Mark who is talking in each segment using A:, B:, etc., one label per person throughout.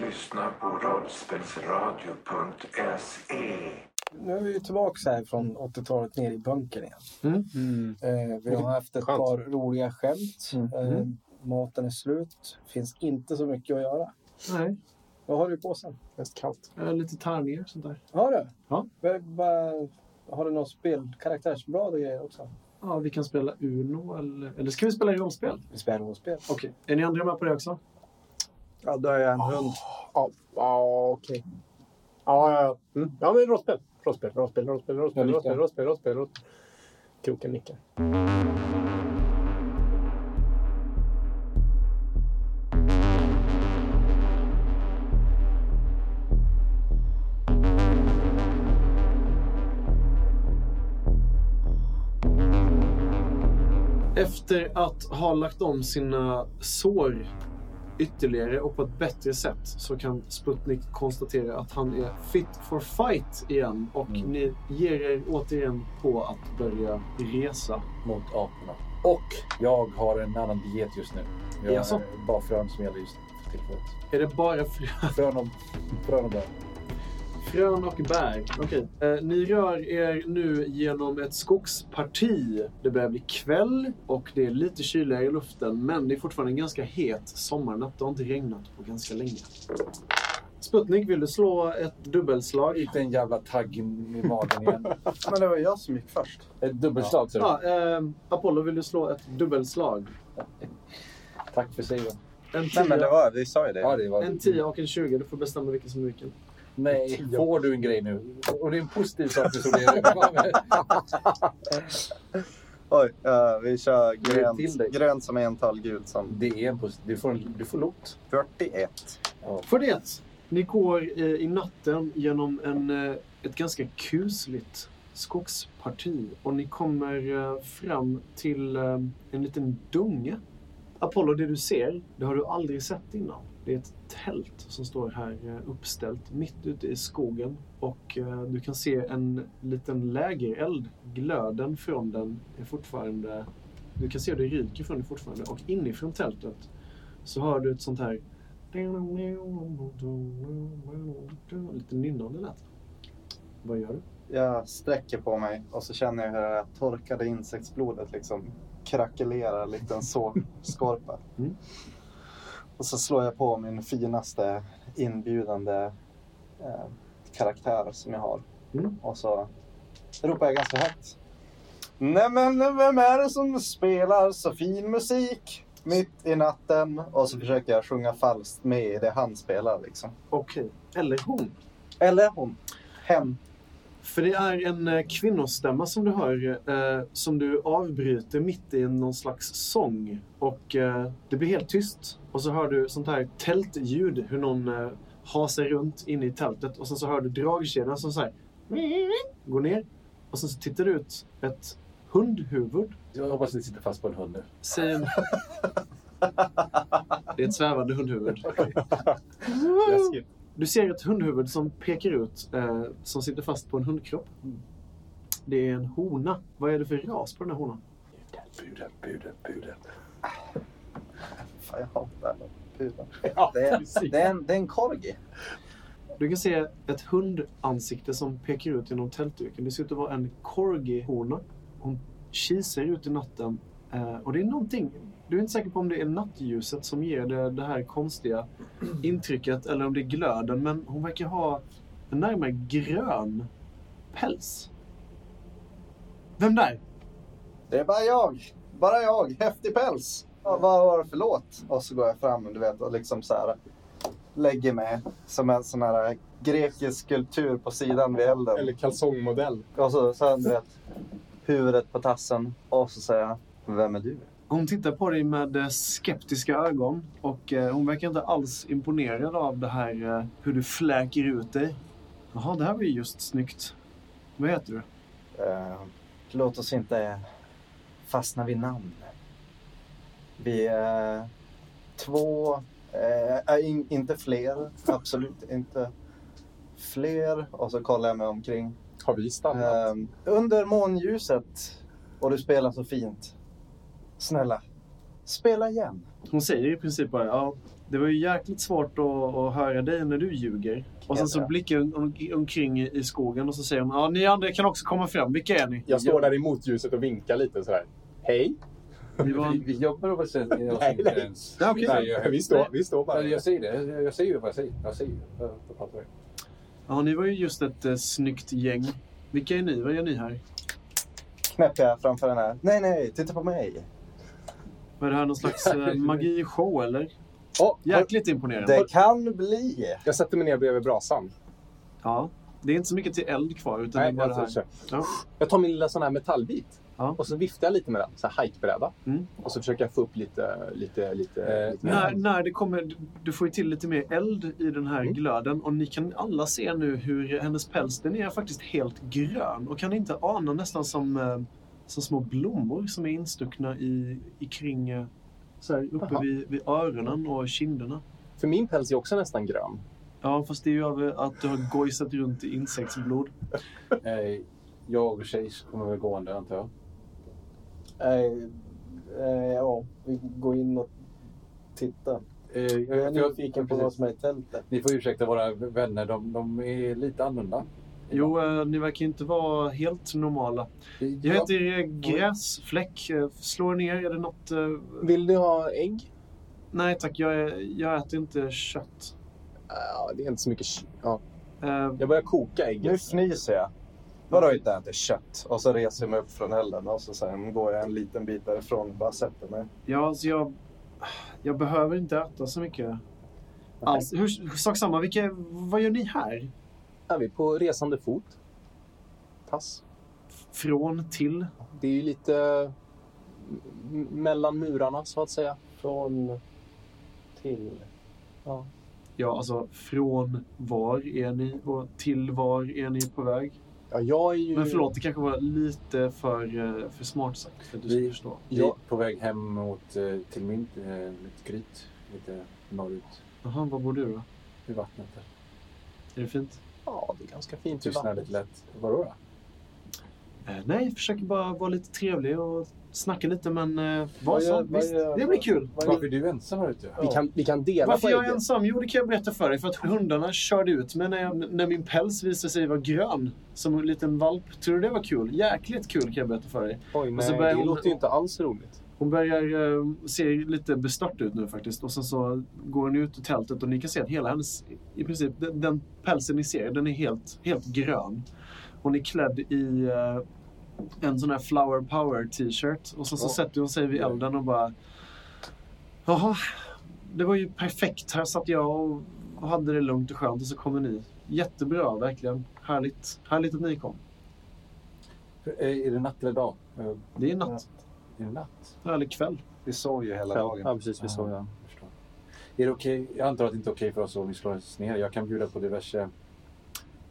A: lyssnar på rollspelsradio.se.
B: Nu är vi ju tillbaka här från 80-talet ner i bunkern igen.
C: Mm.
B: Eh, vi har haft ett
C: Skönt.
B: par roliga skämt.
C: Mm.
B: Eh, maten är slut. finns inte så mycket att göra.
C: Nej,
B: Vad har du i påsen?
D: Mest kallt.
C: jag har lite tärningar och sånt där.
B: Har du?
C: Ja.
B: Vad- vad- har du något spel? Karaktärsblad och grejer också?
C: Ja, vi kan spela Uno eller... Eller ska vi spela rollspel?
B: Vi spelar rollspel.
C: Okej, är ni andra med på det också?
D: Ja, då är jag en hund.
B: Ah.
D: Ja, ja okej. Ja, ja, ja. Mm. Ja, men rollspel. Rollspel, rollspel, rollspel, rollspel,
B: Jag nickar.
D: rollspel, rollspel, rollspel, rollspel. Kroken nickar.
C: Efter att ha lagt om sina sår ytterligare och på ett bättre sätt så kan Sputnik konstatera att han är fit for fight igen och
E: Mm.
C: ni ger er återigen på att börja resa.
E: mot aporna. Och jag har en annan diet just nu. Jag
C: Jaså?
E: är bara frön som gäller just för tillfället.
C: Är det bara frö,
E: Frön och, frön och bär.
C: frön och bär? Okej. Eh, ni rör er nu genom ett skogsparti. Det börjar bli kväll och det är lite kyligare i luften men det är fortfarande en ganska het sommarnatt. Det har inte regnat på ganska länge. Sputnik, vill du slå ett dubbelslag?
E: Inte en jävla tagg i, i magen igen.
F: Men det var jag som gick först.
E: Ett dubbelslag så.
C: Ja, ehm, Apollo, vill du slå ett dubbelslag?
E: Tack för saven.
C: En 10
F: Nej, men det var, vi sa ju det.
E: Ja, det var...
C: en tia och en 20. Du får bestämma vilken som är vilken.
E: Nej, får du en grej nu? Och det är en positiv sak du sorterar.
F: Oj, eh, vi kör
E: Lägg till dig.
F: grönt, grönt som ental, gult som
E: Det är en positiv... Du får, en- du får lot.
F: 41.
C: För det, ni går eh, i natten genom en, eh, ett ganska kusligt skogsparti och ni kommer eh, fram till eh, en liten dunge. Apollo, det du ser, det har du aldrig sett innan. Det är ett tält som står här eh, uppställt mitt ute i skogen och eh, du kan se en liten lägereld. Glöden från den är fortfarande... Du kan se hur det ryker från den fortfarande och inifrån tältet så hör du ett sånt här Lite nynnande lät det. Vad gör du?
F: Jag sträcker på mig och så känner jag hur det här torkade insektsblodet liksom krackelerar likt en sågskorpa.
C: Mm.
F: Och så slår jag på min finaste inbjudande eh, karaktär som jag har.
C: Mm.
F: Och så ropar jag ganska högt. Nej men vem är det som spelar så fin musik? Mitt i natten. Och så försöker jag sjunga falskt med i det han spelar liksom.
C: Okej. Eller hon.
F: Eller hon. Hem.
C: För det är en eh, kvinnostämma som du hör eh, som du avbryter mitt i någon slags sång. Och eh, det blir helt tyst. Och så hör du sånt här tältljud hur någon eh, hasar runt inne i tältet. Och sen så hör du dragkedjan som så här går ner. Och sen så tittar du ut ett hundhuvud
E: Jag hoppas det sitter fast på en hund nu.
C: Säg en... Det är ett svävande hundhuvud.
F: Läskigt.
C: Du ser ett hundhuvud som pekar ut, eh, som sitter fast på en hundkropp. Det är en hona. Vad är det för ras på den här honan?
E: Buden, buden, buden.
F: Fan, jag hatar puben.
E: Ja,
F: Det är, det, är en, det är en korgi.
C: Du kan se ett hundansikte som pekar ut genom tältduken. Det ser ut att vara en corgi-hona. Hon kisar ut i natten. Eh, och det är någonting... Du är inte säker på om det är nattljuset som ger det, det här konstiga intrycket eller om det är glöden, men hon verkar ha en närmare grön päls. Vem där?
F: Det är bara jag. Bara jag. Häftig päls. Ja, vad var det för låt? Och så går jag fram du vet, och liksom så här, lägger mig som en sån här grekisk skulptur på sidan vid
D: Eller
F: elden.
D: kalsongmodell.
F: Och så, så här, du vet, huvudet på tassen. Och så säger jag, vem är du?
C: Hon tittar på dig med eh, skeptiska ögon och eh, hon verkar inte alls imponerad av det här eh, hur du fläker ut dig. Jaha, det här var ju just snyggt. Vad heter du?
F: Eh, låt oss inte fastna vid namn. Vi är två, eh, äh, in, inte fler, absolut inte fler. Och så kollar jag mig omkring.
D: Har vi stannat?
F: Eh, under månljuset och du spelar så fint. Snälla, spela igen.
C: Hon säger i princip bara ja, Det var ju jäkligt svårt att, att höra dig när du ljuger. Och sen så
F: Jävlar.
C: blickar hon om, omkring i i skogen och så säger hon ja, ni andra kan också komma fram. Vilka är ni?
E: Ja.
A: Jag står där i motljuset och vinkar lite så här. Hej!
C: Vi
E: Vi,
C: var...
E: vi jobbar på sätt. Jag
A: Nej,
E: säger
A: nej.
E: inte ens.
C: Ja, okej.
E: Nej, jag-
A: Vi står, vi står bara.
E: Nej, Jag säger det. Jag- Jag säger ju vad jag säger. Jag säger ju. Jag- jag pratar ju.
C: Ja, ni var ju just ett eh, snyggt gäng. Vilka är ni? Vad gör ni här?
F: Knäpper jag framför den här. Nej, nej, titta på mig.
C: Var det här någon slags eh, magi-show eller?
A: Åh, har-
C: Jäkligt imponerande.
F: Det kan bli.
A: jag sätter mig ner bredvid brasan.
C: Ja. Det är inte så mycket till eld kvar utan
A: Nej,
C: det är bara
A: jag,
C: det här.
A: här.
C: Ja.
A: jag tar min lilla sån här metallbit
C: Ja.
A: och så viftar jag lite med den. Så här hajkbräda.
C: Mm.
A: Och så försöker jag få upp lite, lite, lite,
E: Eh,
A: lite
C: När, när det kommer, du- du får ju till lite mer eld i den här
A: Mm.
C: glöden och ni kan alla se nu hur hennes päls, den är faktiskt helt grön och kan inte ana nästan som, eh, som små blommor som är instuckna i, i kring, eh, så här uppe
A: Jaha.
C: vid, vid öronen och kinderna.
A: För min päls är också nästan grön.
C: Ja, fast det är ju av eh, att du har gojsat runt i insektsblod.
E: Eh, Jag och Chase kommer väl gående antar jag.
F: Eh, eh, ja, vi går in och tittar.
E: Eh,
F: Jag är
E: jag-
F: nyfiken på
E: precis.
F: vad som är i tältet.
E: Ni får ursäkta våra vänner. De, de är lite annorlunda.
C: Jo, eh, ni verkar ju inte vara helt normala. Jag heter eh, Gräsfläck. Eh, Slår ni er? Är det något... eh,
A: Vill du ha ägg?
C: Nej tack, jag, är- jag äter inte kött.
A: Ja, det är inte så mycket... sh- Ja.
C: Eh,
A: Jag börjar koka
F: Nu
A: ägget.
F: fnyser jag. Vadå inte äter kött? Och så reser jag mig upp från elden och så sen går jag en liten bit därifrån och bara sätter mig.
C: Ja, alltså jag, jag behöver inte äta så mycket. Alls. Hur, sak samma, vilka, vad gör ni här?
A: Är vi på resande fot? Pass.
C: Från till?
A: Det är ju lite m- mellan murarna, så att säga.
D: Från till.
C: Ja, alltså från var är ni och till var är ni på väg?
A: Ja, jag är ju...
C: Men förlåt, det kanske var lite för, eh, för smart sagt för att du ska
E: Vi-
C: förstå.
E: Vi är
A: Ja.
E: på väg hem mot, eh, till min, eh, mitt gryt. Lite norrut
C: Jaha, var bor du då?
E: vid vattnet. där.
C: Är det fint?
A: Ja, det är ganska fint i
E: Tystnar
A: vattnet.
E: lite lätt. Vadå då?
C: Eh, nej, jag försöker bara vara lite trevlig och snacka lite, men eh, var
D: Vad gör-
C: sånt.
D: vad
C: Visst,
D: gör-
C: det blir kul.
E: Varför är du ensam här ute?
A: Vi kan, vi kan dela
C: Varför
A: på
C: jag är
A: ägget.
C: ensam? Jo, det kan jag berätta för dig. För att hundarna körde ut mig när, jag, när min päls visade sig vara grön. Som en liten valp. Tror du det var kul? Jäkligt kul kan jag berätta för dig.
A: Oj, nej,
C: så börjar
A: det
C: hon-
A: låter ju inte alls roligt.
C: Hon börjar eh, se lite bestört ut nu faktiskt. Och sen så går hon ut ur tältet och ni kan se att hela hennes, i princip, den, den pälsen ni ser, den är helt, helt grön. Hon är klädd i eh, en sån här flower power t-shirt. Och sen så
E: Ja.
C: sätter hon sig vid elden och bara... Jaha, det var ju perfekt. Här satt jag och hade det lugnt och skönt och så kommer ni. Jättebra, verkligen. Härligt, härligt att ni kom.
E: Eh, Är det natt eller dag? Eh, Är
C: Det är natt,
E: det natt?
C: eller kväll.
F: Vi sov ju hela
A: Ja,
F: dagen.
A: ja, precis. Vi såg det.
E: Jag förstår. Är det okej? Jag antar att det inte är okej för oss om vi slår oss ner. Jag kan bjuda på diverse...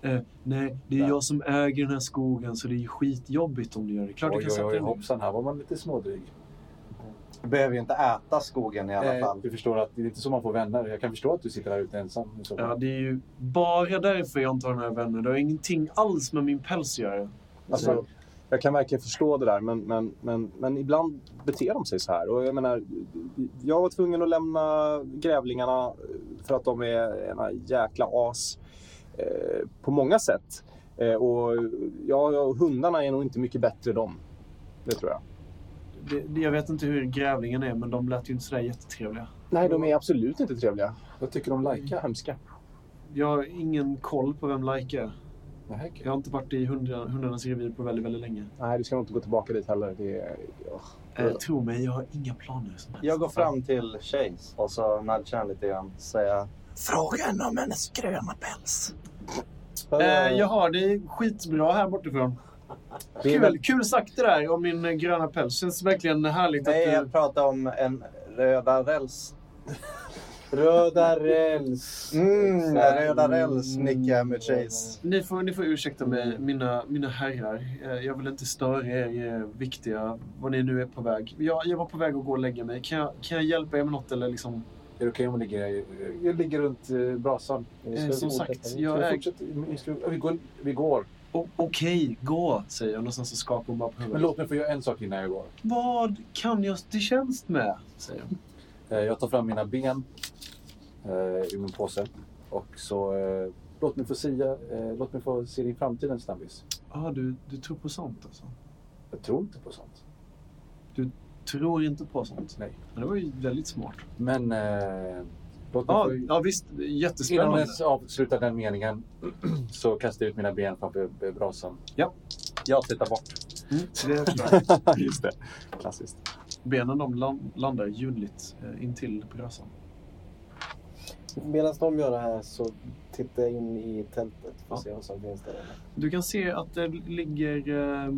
C: Eh, nej, det är
E: Nej.
C: jag som äger den här skogen så det är ju skitjobbigt om du gör det. Klart du
E: Oj,
C: kan
E: oj,
C: sätta
E: oj,
C: dig ner.
E: hoppsan. Här var man lite smådryg.
F: Vi behöver ju inte äta skogen i alla
E: Eh,
F: fall.
E: du förstår att det är inte så man får vänner. Jag kan förstå att du sitter här ute ensam. liksom. i så fall.
C: Ja, det är ju bara därför jag inte har några vänner. Det har ingenting alls med min päls att göra.
A: Alltså, jag kan verkligen förstå det där, men, men, men, men ibland beter de sig så här. Och jag, menar, jag var tvungen att lämna grävlingarna för att de är ena jäkla as eh, på många sätt. Eh, och ja, ja, hundarna är nog inte mycket bättre de. Det tror jag.
C: Det, det, jag vet inte hur grävlingen är, men de lät ju inte sådär jättetrevliga.
A: Nej, de är absolut inte trevliga.
E: Vad tycker du om Laika?
A: Hemska.
C: Jag har ingen koll på vem Laika är.
E: Nähä,
C: Jag har inte varit i hundra, hundarnas revir på väldigt, väldigt länge.
A: Nej, du ska nog inte gå tillbaka dit heller. Det är, åh.
C: Eh, tro mig, jag har inga planer som helst.
F: Jag går fram till Chase och så nudgar han lite grann. Säger Fråga henne om hennes gröna päls.
C: Eh, jag har det skitbra här bortifrån.
A: Det är
C: Kul, kul sagt det där om min eh, gröna päls. Känns verkligen härligt
F: Nej,
C: att eh, du...
F: jag pratar om en röda räls.
D: Röda räls.
F: Mm, röda räls nickar jag med Chase.
C: Ni får, ni får ursäkta mig, mina, mina herrar. Eh, Jag vill inte störa er i er viktiga, vad ni nu är på väg. Jag, jag var på väg att gå och lägga mig. Kan jag, kan jag hjälpa er med något? Eller liksom,
E: Är det okej om vi ligger, jag- jag ligger runt eh, brasan?
C: eh, som sagt, jag
E: Ska vi
C: är...
E: fortsätta? Vi ska- ja, Vi går. Vi går.
C: O- Okej, gå, säger jag. Och sen så skakar hon bara på
E: Men
C: huvudet.
E: låt mig få göra en sak innan jag går.
C: Vad kan jag till tjänst med? Säger hon.
E: Eh, Jag tar fram mina ben eh, i min påse. Och så eh, låt mig få sia, eh, låt mig få se din framtiden snabbis.
C: Ah, du, du tror på sånt alltså?
E: Jag tror inte på sånt.
C: Tror inte på sånt?
E: Nej.
C: Men det var ju väldigt smart.
E: Men eh, låt mig
C: Ja,
E: få...
C: ja visst.
E: Innan jag
C: Jättespännande.
E: ens avslutar den meningen så kastar jag ut mina ben framför eh, brasan.
A: Jag tittar bort.
C: Mm, det är bra.
A: Just det. Klassiskt.
C: Benen de lan- landar ljudligt eh, intill brösan.
B: Medan de gör det här så tittar jag in i tältet för att se vad som finns där.
C: Du kan se att det ligger eh,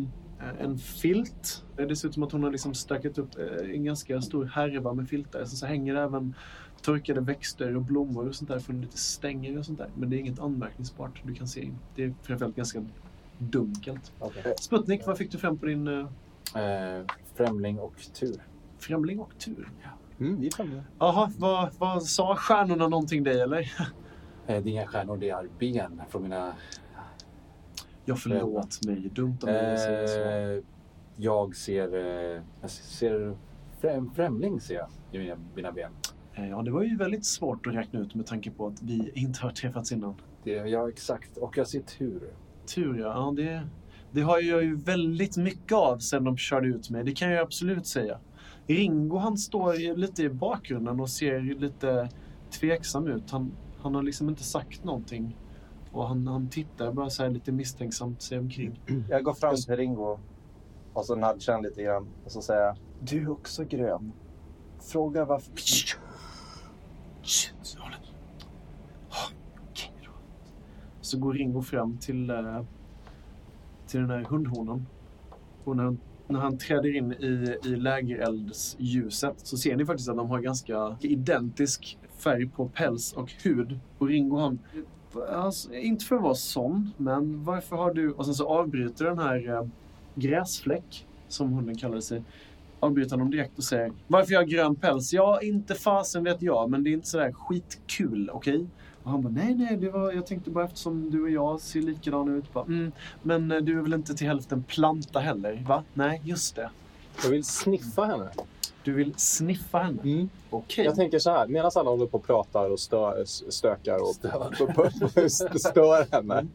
C: en filt. Eh, Det ser ut som att hon har liksom stackat upp eh, en ganska stor härva med filtar. Sen så hänger det även torkade växter och blommor och sånt där från lite stänger och sånt där. Men det är inget anmärkningsvärt du kan se in. Det är framförallt ganska dunkelt.
B: Okej.
C: Sputnik, vad fick du fram på din eh,
E: Eh, främling och tur.
C: främling och tur?
A: Mm, vi är framme.
C: Jaha, vad, vad sa stjärnorna någonting dig eller?
E: Eh, det är inga stjärnor, det är ben från mina...
C: Ja, förlåt mig. Dumt av mig att säga så.
E: Eh, jag ser... Eh, jag ser främ, främling ser jag i mina, mina ben.
C: Eh, Ja, det var ju väldigt svårt att räkna ut med tanke på att vi inte har träffats innan.
E: Det, ja, exakt. Och jag ser tur.
C: Tur ja. ja det, det har jag ju väldigt mycket av sen de körde ut mig. Det kan jag absolut säga. Ringo han står ju lite i bakgrunden och ser ju lite tveksam ut. Han, han har liksom inte sagt någonting. Och han, han tittar bara så här lite misstänksamt sig omkring.
F: Jag går fram till Ringo och så nudgar han lite grann och så säger jag, Du är också grön. Fråga varför...
C: Shit, håll upp. Ja, Ah, okej då. Så går Ringo fram till, eh, till den här hundhonan. Och när han, när han träder in i, i lägereldsljuset så ser ni faktiskt att de har ganska identisk färg på päls och hud. Och Ringo han... Alltså, inte för att vara sån, men varför har du... Och sen så avbryter den här eh, gräsfläck, som hunden kallar sig, avbryter honom direkt och säger Varför jag har grön päls? Ja, inte fasen vet jag, men det är inte sådär skitkul, okej? Och han bara, nej, nej, det var, jag tänkte bara eftersom du och jag ser likadana ut. Bara, mm, men eh, du är väl inte till hälften planta heller, va? Nej, just det.
A: Jag vill sniffa henne.
C: Du vill sniffa henne?
A: Mm.
C: Okej.
A: Jag tänker så här, medan alla håller på och pratar och stö, stökar och stör, stör
C: Mm,
A: henne.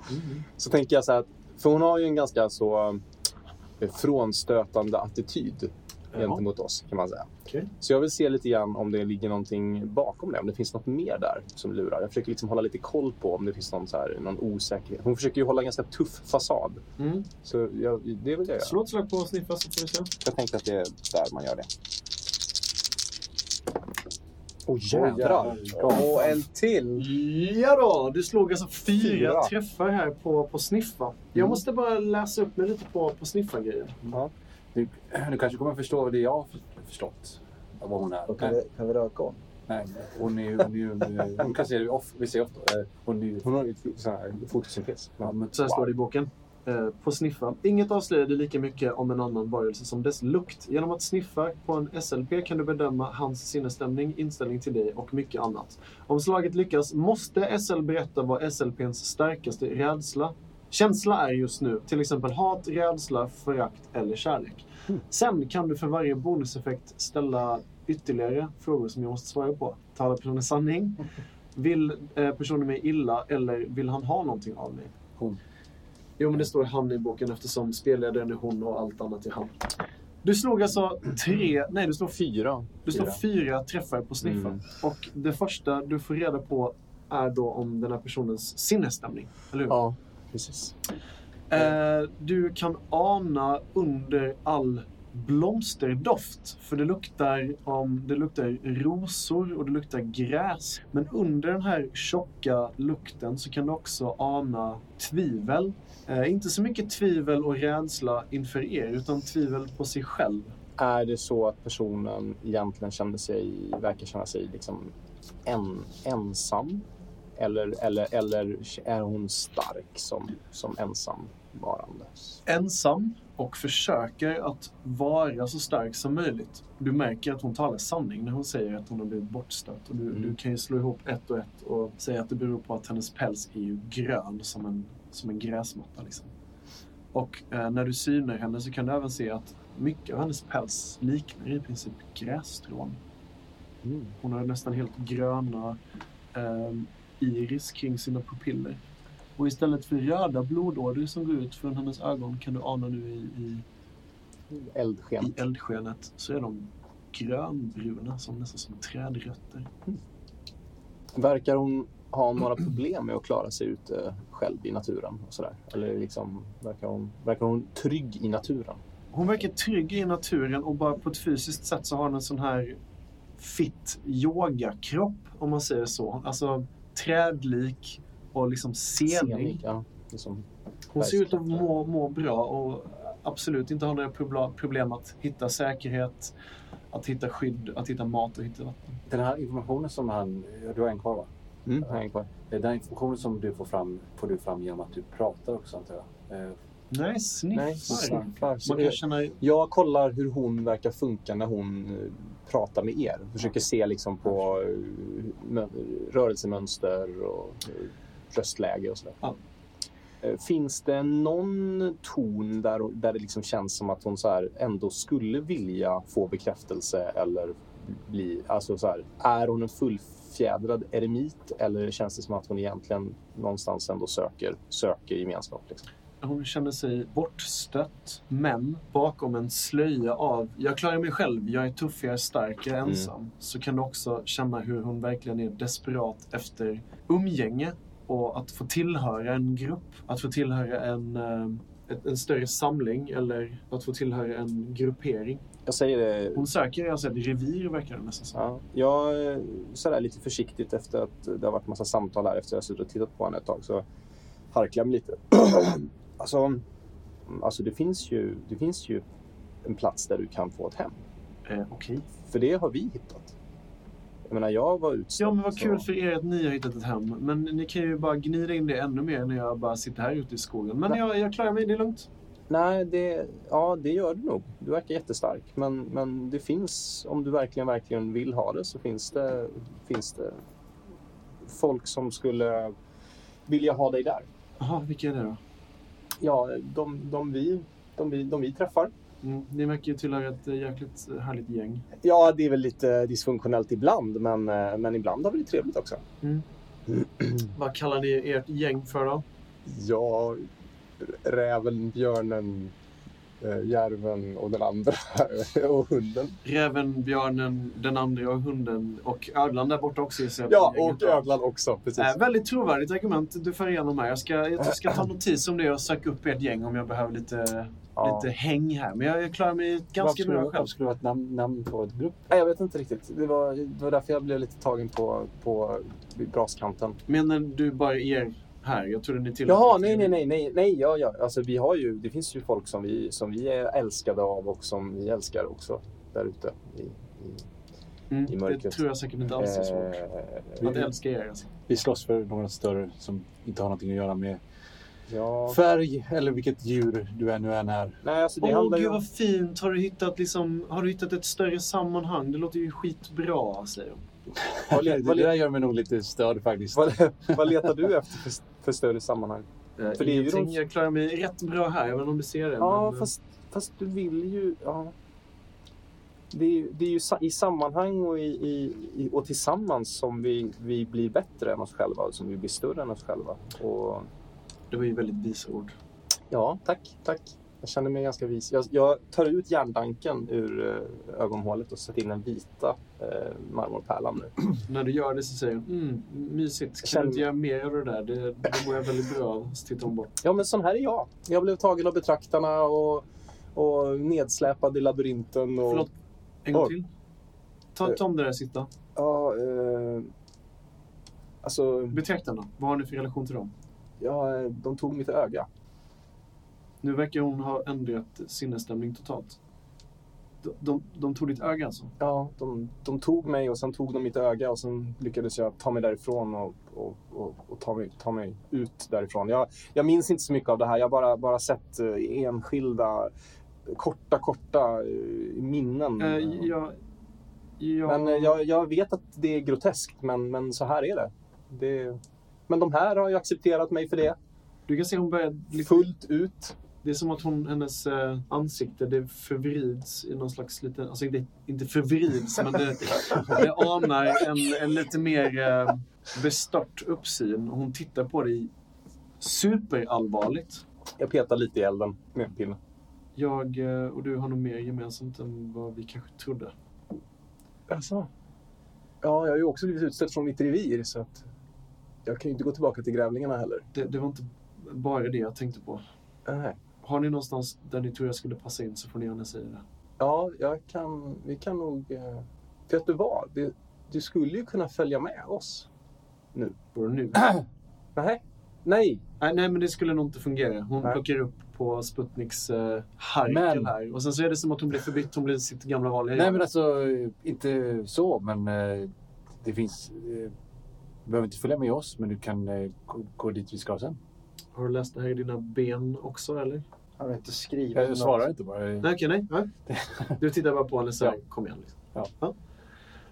A: Så tänker jag så här, att- för hon har ju en ganska så eh, frånstötande attityd gentemot oss kan man säga.
C: Okej.
A: Så jag vill se lite grann om det ligger någonting bakom det, om det finns något mer där som lurar. Jag försöker liksom hålla lite koll på om det finns någon, så här, någon osäkerhet. Hon försöker ju hålla en ganska tuff fasad.
C: Mm.
A: Så jag, det vill jag göra.
C: Slå ett slag på att sniffa så får vi se.
A: Jag tänkte att det är där man gör det. Åh
E: jävlar.
A: jävlar!
B: Och en till!
C: Ja då, du slog alltså fyra,
A: Fyra.
C: träffar här på, på sniffa. Jag
A: Mm.
C: måste bara läsa upp mig lite på, på sniffa-grejen.
E: Du, du kanske kommer förstå det jag har för- förstått. Av vad hon är.
B: Och Kan vi, kan vi röka om?
E: Nej, hon är ju... Hon, är ju, hon, är, hon kan se det off, vi ser ofta. eh, Hon är ju...
A: Hon har ju så här fotosyntes.
E: Ja, men,
C: Så här står det i boken. Eh, på sniffa. Inget avslöjade lika mycket om en annan varelse som dess lukt. Genom att sniffa på en SLP kan du bedöma hans sinnesstämning, inställning till dig och mycket annat. Om slaget lyckas måste SL berätta vad SLPns starkaste rädsla, känsla är just nu. Till exempel hat, rädsla, förakt eller kärlek. Sen kan du för varje bonuseffekt ställa ytterligare frågor som jag måste svara på. Talar personen sanning? Vill eh, personen mig illa eller vill han ha någonting av mig? Jo, men det står han i boken eftersom spelledaren är hon och allt annat är han. Du slog alltså tre, nej du slog
A: Fyra.
C: du slår fyra träffar på sniffen.
E: Mm.
C: Och det första du får reda på är då om den här personens sinnesstämning. Eller hur?
A: Ja, precis.
C: Eh, du kan ana under all blomsterdoft. För det luktar, om, det luktar rosor och det luktar gräs. Men under den här tjocka lukten så kan du också ana tvivel. Eh, inte så mycket tvivel och rädsla inför er, utan tvivel på sig själv.
A: Är det så att personen egentligen känner sig, verkar känna sig liksom en, ensam? Eller, eller, eller är hon stark som, som ensamvarande?
C: ensam och försöker att vara så stark som möjligt. Du märker att hon talar sanning när hon säger att hon har blivit bortstött. Och du,
A: Mm.
C: du kan ju slå ihop ett och ett och säga att det beror på att hennes päls är ju grön som en, som en gräsmatta. Liksom. Och eh, när du synar henne så kan du även se att mycket av hennes päls liknar i princip grässtrån.
A: Mm.
C: Hon har nästan helt gröna eh, iris kring sina pupiller. Och istället för röda blodådror som går ut från hennes ögon kan du ana nu i, i,
A: Eldsken.
C: i eldskenet så är de grönbruna, som nästan som trädrötter.
A: Verkar hon ha några problem med att klara sig ute själv i naturen? Och sådär? Eller liksom, verkar, hon, verkar hon trygg i naturen?
C: Hon verkar trygg i naturen och bara på ett fysiskt sätt så har hon en sån här fit yogakropp om man säger så. Alltså trädlik och liksom senig.
A: Senig, Ja, liksom,
C: Hon ser ut att må, må bra och absolut inte har några probla- problem att hitta säkerhet, att hitta skydd, att hitta mat och hitta vatten.
E: Den här informationen som han... ja, Du har en kvar va? Eh,
A: mm, häng kvar.
E: Den här informationen som du får fram får du fram genom att du pratar också antar jag. Eh,
C: Nej, sniffar.
A: Nej, snarkar. Så
C: Man kan
A: jag-
C: känna...
A: Jag kollar hur hon verkar funka när hon eh, pratar med er. Försöker se liksom på eh, mö- rörelsemönster och eh, röstläge och sådär.
C: Ja.
A: Eh, Finns det någon ton där, där det liksom känns som att hon så här ändå skulle vilja få bekräftelse eller bli... Alltså så här, är hon en fullfjädrad eremit eller känns det som att hon egentligen någonstans ändå söker, söker gemenskap? Liksom?
C: Hon känner sig bortstött, men bakom en slöja av jag klarar mig själv, jag är tuff, jag är stark, jag är ensam. Så kan du också känna hur hon verkligen är desperat efter umgänge och att få tillhöra en grupp, att få tillhöra en, eh, ett- en större samling eller att få tillhöra en gruppering.
A: Jag säger det
C: Hon söker alltså ett revir verkar det nästan som.
A: Ja, jag eh, sådär lite försiktigt efter att det har varit massa samtal här efter att jag har suttit och tittat på henne ett tag så harklar jag mig lite. alltså, alltså det, finns ju, det finns ju en plats där du kan få ett hem.
C: Eh, Okej.
A: För det har vi hittat. Jag menar, jag var utstött.
C: Ja, men vad
A: så-
C: kul för er att ni har hittat ett hem. Men ni kan ju bara gnida in det ännu mer när jag bara sitter här ute i skogen. Men
A: Nej.
C: jag, jag klarar mig, det är lugnt.
A: Nej, det, ja, det gör du nog. Du verkar jättestark. Men, men det finns, om du verkligen, verkligen vill ha det så finns det, finns det folk som skulle vilja ha dig där.
C: Jaha, vilka är det då?
A: Ja, de, de, vi, de, vi, de vi träffar.
C: Mm, ni verkar ju tillhöra ett eh, jäkligt härligt gäng.
A: Ja, det är väl lite dysfunktionellt ibland, men, eh, men ibland har vi det trevligt också.
C: Vad kallar ni ert gäng för då?
G: Ja, räven, björnen, eh, järven och den andra. och hunden.
C: Räven, björnen, den andra och hunden och ödlan där borta också gissar jag.
G: Ja,
C: på gänget
G: och
C: då.
G: ödlan också. Precis.
C: Eh, väldigt trovärdigt argument du för igenom här. Jag ska, jag ska ta notis om det och söka upp ert gäng om jag behöver lite, lite häng här. Men jag, jag klarar mig ganska
E: skulle,
C: bra själv.
E: varför skulle du ha ett namn, namn på ett grupp?
A: Nej, jag vet inte riktigt. Det var, det var därför jag blev lite tagen på, på braskanten.
C: Menar du bara er här? Jag trodde ni tillhörde...
A: Jaha, nej, nej, nej, nej, nej, ja, ja. Alltså, vi har ju, det finns ju folk som vi, som vi är älskade av och som vi älskar också där ute i, i,
C: Mm,
A: i
C: det
A: mörkret.
C: tror jag säkert inte alls är svårt.
A: Eh,
C: Att älska er alltså.
E: Vi slåss för några större som inte har någonting att göra med
A: ja.
E: färg eller vilket djur du ännu än är.
A: Nej, alltså det
C: Åh
A: handlar ju
C: gud
A: om...
C: vad fint! Har du, hittat liksom, har du hittat ett större sammanhang? Det låter ju skitbra, säger hon.
A: Vad,
E: Det,
A: le-
E: det
A: vad,
E: där
A: le-
E: gör mig nog lite störd faktiskt.
A: vad, le- vad letar du efter för, för större sammanhang?
C: Eh,
A: För det är ju
C: ingenting.
A: de-
C: Jag klarar mig rätt bra här, även om du ser det.
A: Ja,
C: men, eh,
A: fast, fast du vill ju... Ja. Det, är, ju- det är ju sa- i sammanhang och, i, i, i, och tillsammans som vi, vi blir bättre än oss själva och som vi blir större än oss själva. Och,
C: eh, Det var ju väldigt visa ord.
A: ja, tack, tack. Jag känner mig ganska vis. Jag, jag tar ut järndanken ur eh, ögonhålet och sätter in den vita eh, marmorpärlan nu.
C: När du gör det så säger hon mm, mysigt. Kan
A: Känner-
C: du inte göra mer av det där? Det, det mår jag väldigt bra av. Så tittar hon bort.
A: Ja, men sån här är jag. Jag blev tagen av betraktarna och, och nedsläpad i labyrinten. Och,
C: Förlåt, en gång
A: Oj.
C: till. Ta, ta om det där sista.
A: Ja, eh, alltså,
C: Betraktarna, vad har ni för relation till dem?
A: ja, eh, de tog mitt öga.
C: Nu verkar hon ha ändrat sinnesstämning totalt. De, de, de tog ditt öga alltså?
A: Ja, de, de tog mig och sen tog de mitt öga och sen lyckades jag ta mig därifrån och, och, och, och ta, mig, ta mig ut därifrån. Jag, jag minns inte så mycket av det här. Jag har bara, bara sett eh, enskilda korta, korta eh, minnen.
C: Eh, jag, jag...
A: Men eh, jag, jag vet att det är groteskt, men, men så här är det. det. Men de här har ju accepterat mig för det
C: Du kan se hon börjar lite
A: fullt ut.
C: Det är som att hon, hennes eh, ansikte det förvrids i någon slags liten... Alltså det, inte förvrids, men det, det anar en, en lite mer eh, bestört uppsyn. Hon tittar på dig superallvarligt.
H: Jag petar lite i elden med en pinne.
C: Jag eh, och du har nog mer gemensamt än vad vi kanske trodde.
A: Alltså. Ja, jag har ju också blivit utstött från mitt revir så att jag kan ju inte gå tillbaka till grävlingarna heller.
C: Det, det var inte bara det jag tänkte på.
A: Nej.
C: Har ni någonstans där ni tror jag skulle passa in så får ni gärna säga det.
A: Ja, jag kan, vi kan nog... eh, Vet du vad? Du, du skulle ju kunna följa med oss.
C: Bara nu.
A: Nej. Nej.
C: Nej, nej, men det skulle nog inte fungera. Hon
A: Nej.
C: plockar upp på Sputniks eh, harkel
E: Men-
C: här. Och sen så är det som att hon blir förbytt. Hon blir sitt gamla vanliga
E: Nej,
C: jag.
E: men alltså inte så, men eh, det finns... eh, Du behöver inte följa med oss, men du kan eh, gå- gå dit vi ska sen.
C: Har du läst det här i dina ben också,
A: Mm.
C: eller?
F: Har du inte skrivit
E: Jag
F: något?
E: svarar inte bara. Eh,
C: Nej, okej, nej. Du tittar bara på henne så här. Kom igen. Liksom.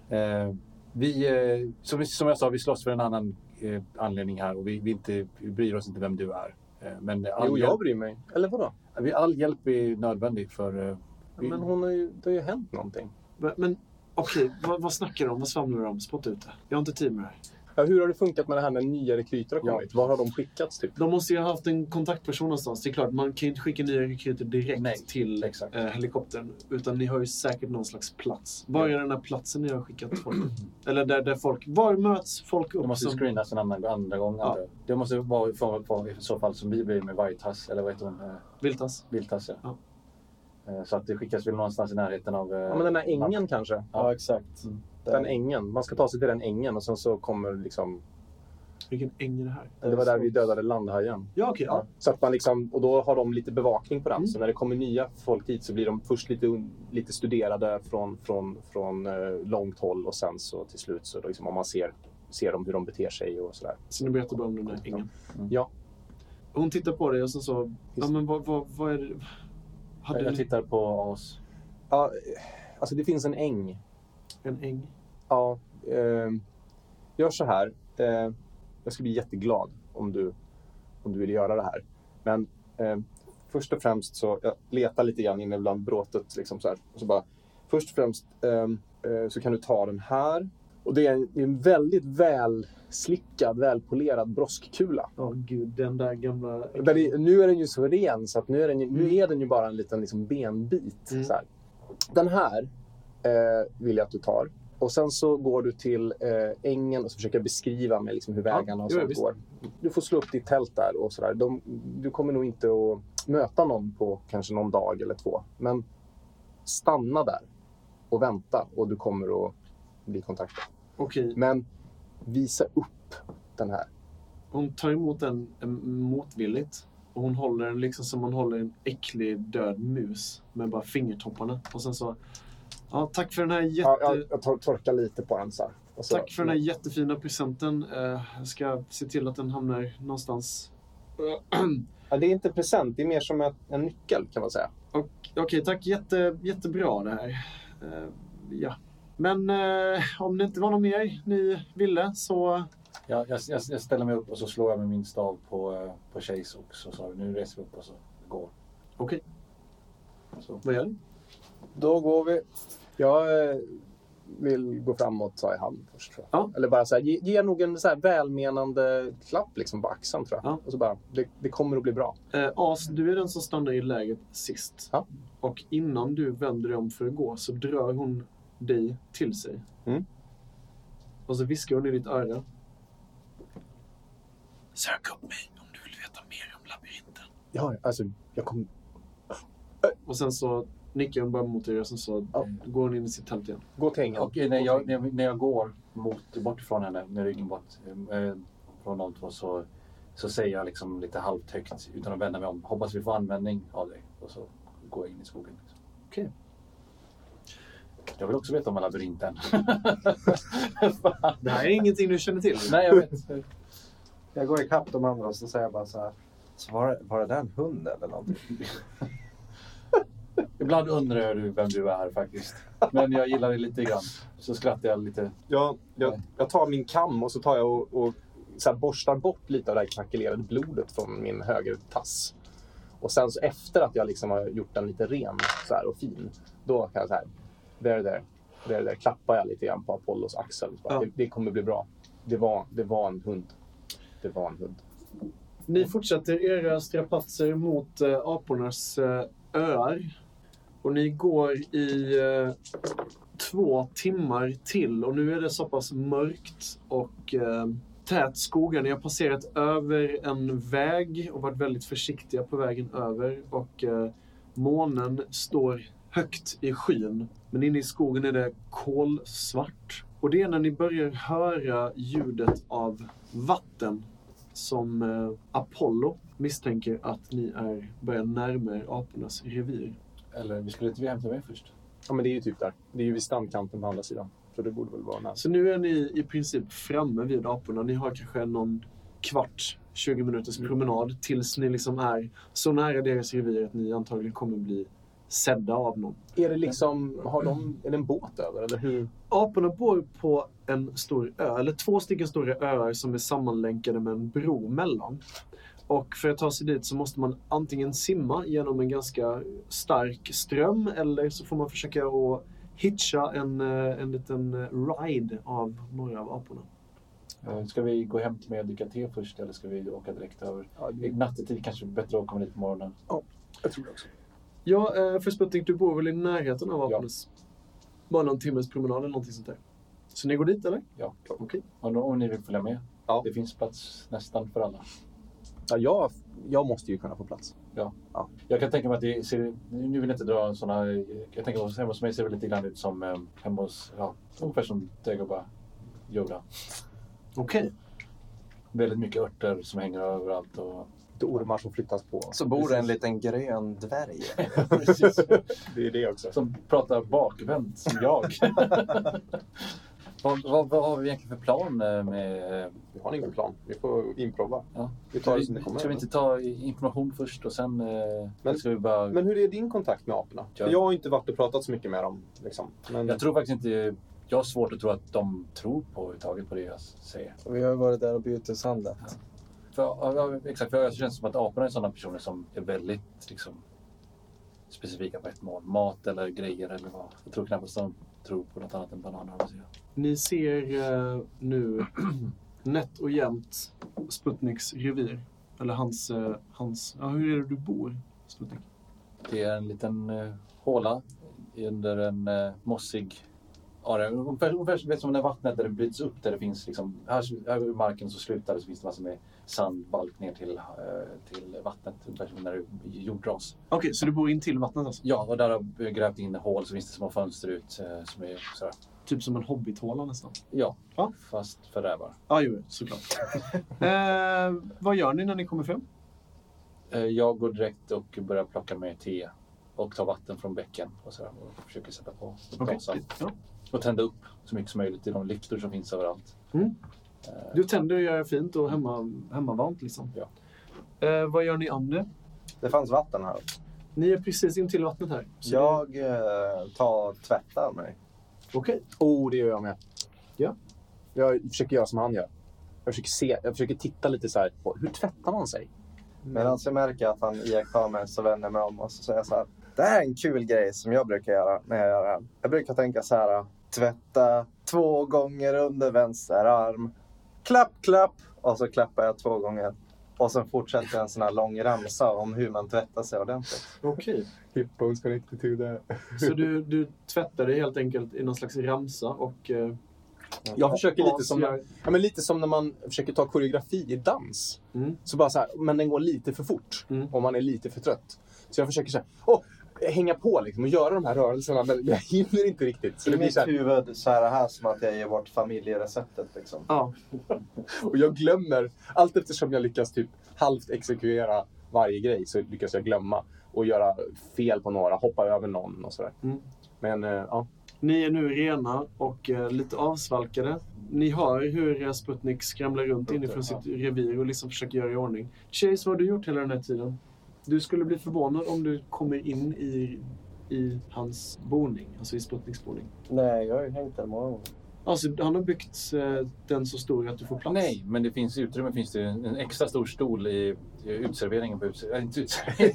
E: Eh, vi, eh, som, som jag sa, vi slåss för en annan eh, anledning här och vi, vi, inte, vi bryr oss inte vem du är. Eh, men all,
A: Jo, jag
E: hjälp,
A: bryr mig. Eller vadå?
E: vi- all hjälp är nödvändig för... Eh, vi,
A: Men hon har ju, det har ju hänt någonting.
C: Men- Men okej, vad, vad snackar du om? Vad svamlar du om? Spotta ut det. Jag har inte tid med det här.
A: Ja, hur har det funkat med det här när nya rekryter har kommit? Var har de skickats typ?
C: De måste ju ha haft en kontaktperson någonstans. Det är klart, man kan ju inte skicka nya rekryter direkt
E: Nej,
C: till
E: exakt.
C: eh, helikoptern. Utan ni har ju säkert någon slags plats. Var är den här platsen ni har skickat folk? Eller där, där folk... Var möts folk upp?
E: De måste
C: som-
E: screenas en annan, andra gång.
C: Ja.
E: Andra. Det måste vara i, form av, i så fall som vi blir med Vargtass, eller vad heter hon? Eh,
C: Viltas.
E: Viltass, ja.
C: Ja.
E: Eh, Så att det skickas väl någonstans i närheten av... eh,
A: Ja, men den här ängen kanske?
F: Ja, exakt.
E: Mm.
A: Den ängen. Man ska ta sig till den ängen och sen så kommer liksom...
C: Vilken äng är det här?
A: Det var där vi dödade landhajen.
C: Ja, okej. ja.
A: Så att man liksom, och då har de lite bevakning på den.
C: Mm.
A: Så när det kommer nya folk hit så blir de först lite, un- lite studerade från, från, från eh, långt håll och sen så till slut så då liksom, om man ser, ser dem hur de beter sig och sådär.
C: Så ni berättar bara om den där ängen?
E: Mm.
A: Ja.
C: Hon tittar på dig och så sa... Ja,
A: Just-
C: men vad, vad, vad är det... Hade
E: Jag, jag
C: ni
E: tittar på oss.
A: Ja, alltså det finns en äng.
C: en äng?
A: Ja, eh, gör så här. Eh, jag skulle bli jätteglad om du, om du vill göra det här. Men eh, först och främst så jag letar lite grann inne bland bråtet. Liksom så här, och så bara, först och främst eh, eh, så kan du ta den här. Och det är en, det är en väldigt välslickad, välpolerad broskekula.
C: Ja, gud. Den där gamla...
A: Den är, nu är den ju så ren så att nu är den ju, nu är den ju bara en liten liksom benbit.
C: Mm.
A: Så här. Den här eh, vill jag att du tar. Och sen så går du till eh, ängen och så försöker jag beskriva med liksom hur
C: Ja,
A: vägarna och
C: jo,
A: sånt
C: visst.
A: går. Du får slå upp ditt tält där och sådär. De, du kommer nog inte att möta någon på kanske någon dag eller två. Men stanna där och vänta och du kommer att bli kontaktad.
C: Okej.
A: Men visa upp den här.
C: Hon tar emot den eh, motvilligt. Och hon håller den liksom som man håller en äcklig död mus med bara fingertopparna. Och sen så... Ja, tack för den här, jätte,
A: Ja, jag jag tor- torkar lite på den så här. Och så-
C: tack för den här jättefina presenten. Eh, Jag ska se till att den hamnar någonstans.
A: Ja, det är inte present, det är mer som ett, en nyckel kan man säga.
C: Okej, tack. Jätte, jättebra det här. Eh, Ja. Men eh, om det inte var något mer ni ville så...
E: Jag, jag, jag, jag ställer mig upp och så slår jag med min stav på, eh, på Chase och så sa vi nu reser vi upp och så går.
C: Okej.
E: Så.
C: Vad gör ni?
A: Då går vi. Jag eh, vill gå framåt, sa jag hand först. Tror jag.
C: Ja.
A: Eller bara så här, ge, ge nog en så här välmenande klapp liksom på axeln tror jag.
C: Ja.
A: Och så bara, det, det kommer att bli bra.
C: Eh, As, du är den som stannar i läget sist.
A: Ja.
C: Och innan du vänder dig om för att gå så drar hon dig till sig.
A: Mm.
C: Och så viskar hon i ditt öra. Sök upp mig om du vill veta mer om labyrinten.
A: Ja, alltså, jag kommer...
C: Och sen så nickar hon bara mot dig och sen så
A: Ja.
C: går hon in i sitt tält igen.
A: Gå till ängen.
E: Och eh, när jag, när jag, när jag går mot, bort från henne med ryggen bort eh, från de två så, så säger jag liksom lite halvt högt utan att vända mig om. Hoppas vi får användning av dig. Och så går jag in i skogen. Liksom.
C: Okej.
E: Jag vill också veta om labyrinten.
C: Det här är ingenting du känner till.
E: Nej, jag vet.
F: Jag går ikapp de andra och så säger jag bara så här. Så var, det- var det där en hund eller någonting?
E: Ibland undrar jag du vem du är faktiskt. Men jag gillar det lite grann. Så skrattar jag lite.
A: Jag, jag, jag tar min kam och så tar jag och, och så här borstar bort lite av det här krackelerade blodet från min höger tass. Och sen så efter att jag liksom har gjort den lite ren så här, och fin, då kan jag så här, there, there, there, there, klappar jag lite grann på Apollos axel. Bara,
C: Ja.
A: det, det kommer bli bra. Det var, det var en hund. Det var en hund.
C: Ni fortsätter era strapatser mot eh, apornas eh, öar. Och ni går i eh, två timmar till. Och nu är det så pass mörkt och eh, tät skogar. Ni har passerat över en väg och varit väldigt försiktiga på vägen över. Och eh, månen står högt i skyn. Men inne i skogen är det kolsvart. Och det är när ni börjar höra ljudet av vatten som eh, Apollo misstänker att ni är börjar närma er apornas revir.
E: Eller vi skulle inte vi hämta mig först?
A: Ja, men det är ju typ där. Det är ju vid strandkanten på andra sidan. Så det borde väl vara nära.
C: Så nu är ni i princip framme vid aporna. Ni har kanske någon kvart, 20 minuters promenad tills ni liksom är så nära deras revir att ni antagligen kommer bli sedda av någon.
A: Är det liksom, har de, är det en båt över eller hur?
C: Aporna bor på en stor ö, eller två stycken stora öar som är sammanlänkade med en bro mellan. Och för att ta sig dit så måste man antingen simma genom en ganska stark ström eller så får man försöka att hitcha en, eh, en liten eh, ride av några av aporna.
E: Eh, Ska vi gå hem till mig och dricka te först eller ska vi åka direkt över? I Nattetid kanske det är bättre att komma dit på morgonen.
A: Jag tror det också.
C: Ja, eh, för Sputnik, du bor väl i närheten av
E: Ja.
C: apornas? Bara någon timmes promenad eller någonting sånt där. Så ni går dit eller?
E: Ja.
C: Okej.
E: Om, om ni vill följa med.
A: Ja.
E: Det finns plats nästan för alla.
A: Ja, jag, jag måste ju kunna få plats.
E: Jag kan tänka mig att det ser, nu vill jag inte dra sådana, jag tänker att hemma hos mig ser det lite grann ut som eh, hemma hos, ja, ungefär som Dagobah Yoda.
C: Okej.
E: Väldigt mycket örter som hänger överallt och
A: Lite ormar som flyttas på.
F: Så bor det en liten grön dvärg.
E: precis,
A: Det är det också.
E: som pratar bakvänt som jag. vad, vad, vad har vi egentligen för plan eh, med...
A: Vi har ingen plan. Vi får improva.
E: Ja.
A: Vi tar
E: Ska
A: det som det
E: vi,
A: kommer.
E: ska vi inte ta information först och sen eh,
A: Men-
E: ska vi bara...
A: Men hur är din kontakt med aporna?
E: Ja.
A: För Jag har inte varit och pratat så mycket med dem. Liksom. Men
E: Jag tror faktiskt inte... Jag har svårt att tro att de tror på överhuvudtaget på det jag säger.
B: Vi har ju varit där och byteshandlat.
E: För, ja, ja, exakt, för jag känns som att aporna är sådana personer som är väldigt liksom, specifika på ett mål. Mat eller grejer eller vad. Jag tror knappast de tror på något annat än bananer. om jag säger.
C: Ni ser eh, nu nätt och jämnt Sputniks revir. Eller hans... Eh, hans ja, hur är det du bor, Sputnik?
E: Det är en liten eh, håla under en eh, mossig area. Ungefär, ungefär vet, som när vattnet där det bryts upp. Där det finns liksom, här, här vid marken så slutar det så finns det massor med sandbalk ner till, eh, till vattnet. Ungefär som när det är jordras.
C: Okej, så du bor in till vattnet alltså?
E: Ja, och där har jag grävt in hål så finns det små fönster ut eh, som är sådär
C: Typ som en hobbithåla nästan?
E: Ja,
C: Ja.
E: fast för rävar.
C: Ja, ah, jo, såklart. eh, vad gör ni när ni kommer fram?
E: Eh, Jag går direkt och börjar plocka med te och ta vatten från bäcken och, så och försöker sätta på brasan.
C: Ja.
E: Och tända upp så mycket som möjligt i de lyktor som finns överallt.
C: Mm.
E: Eh,
C: Du tänder och gör fint och hemma, hemmavarmt liksom.
E: Ja.
C: Eh, vad gör ni andra?
F: Det fanns vatten här.
C: Ni är precis in till vattnet här. så det-
F: Jag eh, tar tvättar mig.
C: Okej.
A: oh, det gör jag med.
C: Ja.
A: Jag försöker göra som han gör. Jag försöker, se, jag försöker titta lite så här på hur tvättar man sig?
B: Mm.
F: Medan jag märker att han iakttar mig så vänder jag mig om och så säger jag så här. Det här är en kul grej som jag brukar göra när jag gör det här. Jag brukar tänka så här. Tvätta två gånger under vänster arm. Klapp, klapp. Och så klappar jag två gånger. Och sen fortsätter jag en sån här lång ramsa om hur man tvättar sig ordentligt.
C: Okej.
G: Hipbones connected to the...
C: Så du, du tvättar dig helt enkelt i någon slags ramsa och... Eh,
A: Jag försöker lite som,
C: avgör-
A: ja, men lite som när man försöker ta koreografi i dans.
C: Mm.
A: Så bara så här, men den går lite för fort
C: Mm.
A: och man är lite för trött. Så jag försöker så här, åh, hänga på liksom och göra de här rörelserna men jag hinner inte riktigt. Så
F: I
A: det blir
F: mitt
A: så här,
F: huvud så är det här som att jag ger bort familjereceptet liksom.
C: Ja,
A: och jag glömmer, allt eftersom jag lyckas typ halvt exekvera varje grej så lyckas jag glömma och göra fel på några, hoppa över någon och sådär.
C: Mm.
A: Men eh, ja,
C: ni är nu rena och eh, lite avsvalkade. Ni hör hur eh, Sputnik skramlar runt inifrån sitt revir och liksom försöker göra i ordning. Chase, vad har du gjort hela den här tiden? Du skulle bli förvånad om du kommer in i, i hans boning, alltså i Sputniks boning.
B: Nej, jag har ju hängt där många gånger.
C: Alltså, han har byggt eh, den så stor att du får plats.
E: Nej, men det finns utrymme. Finns det en en extra stor stol i, i utserveringen på utserveringen? Inte utserveringen.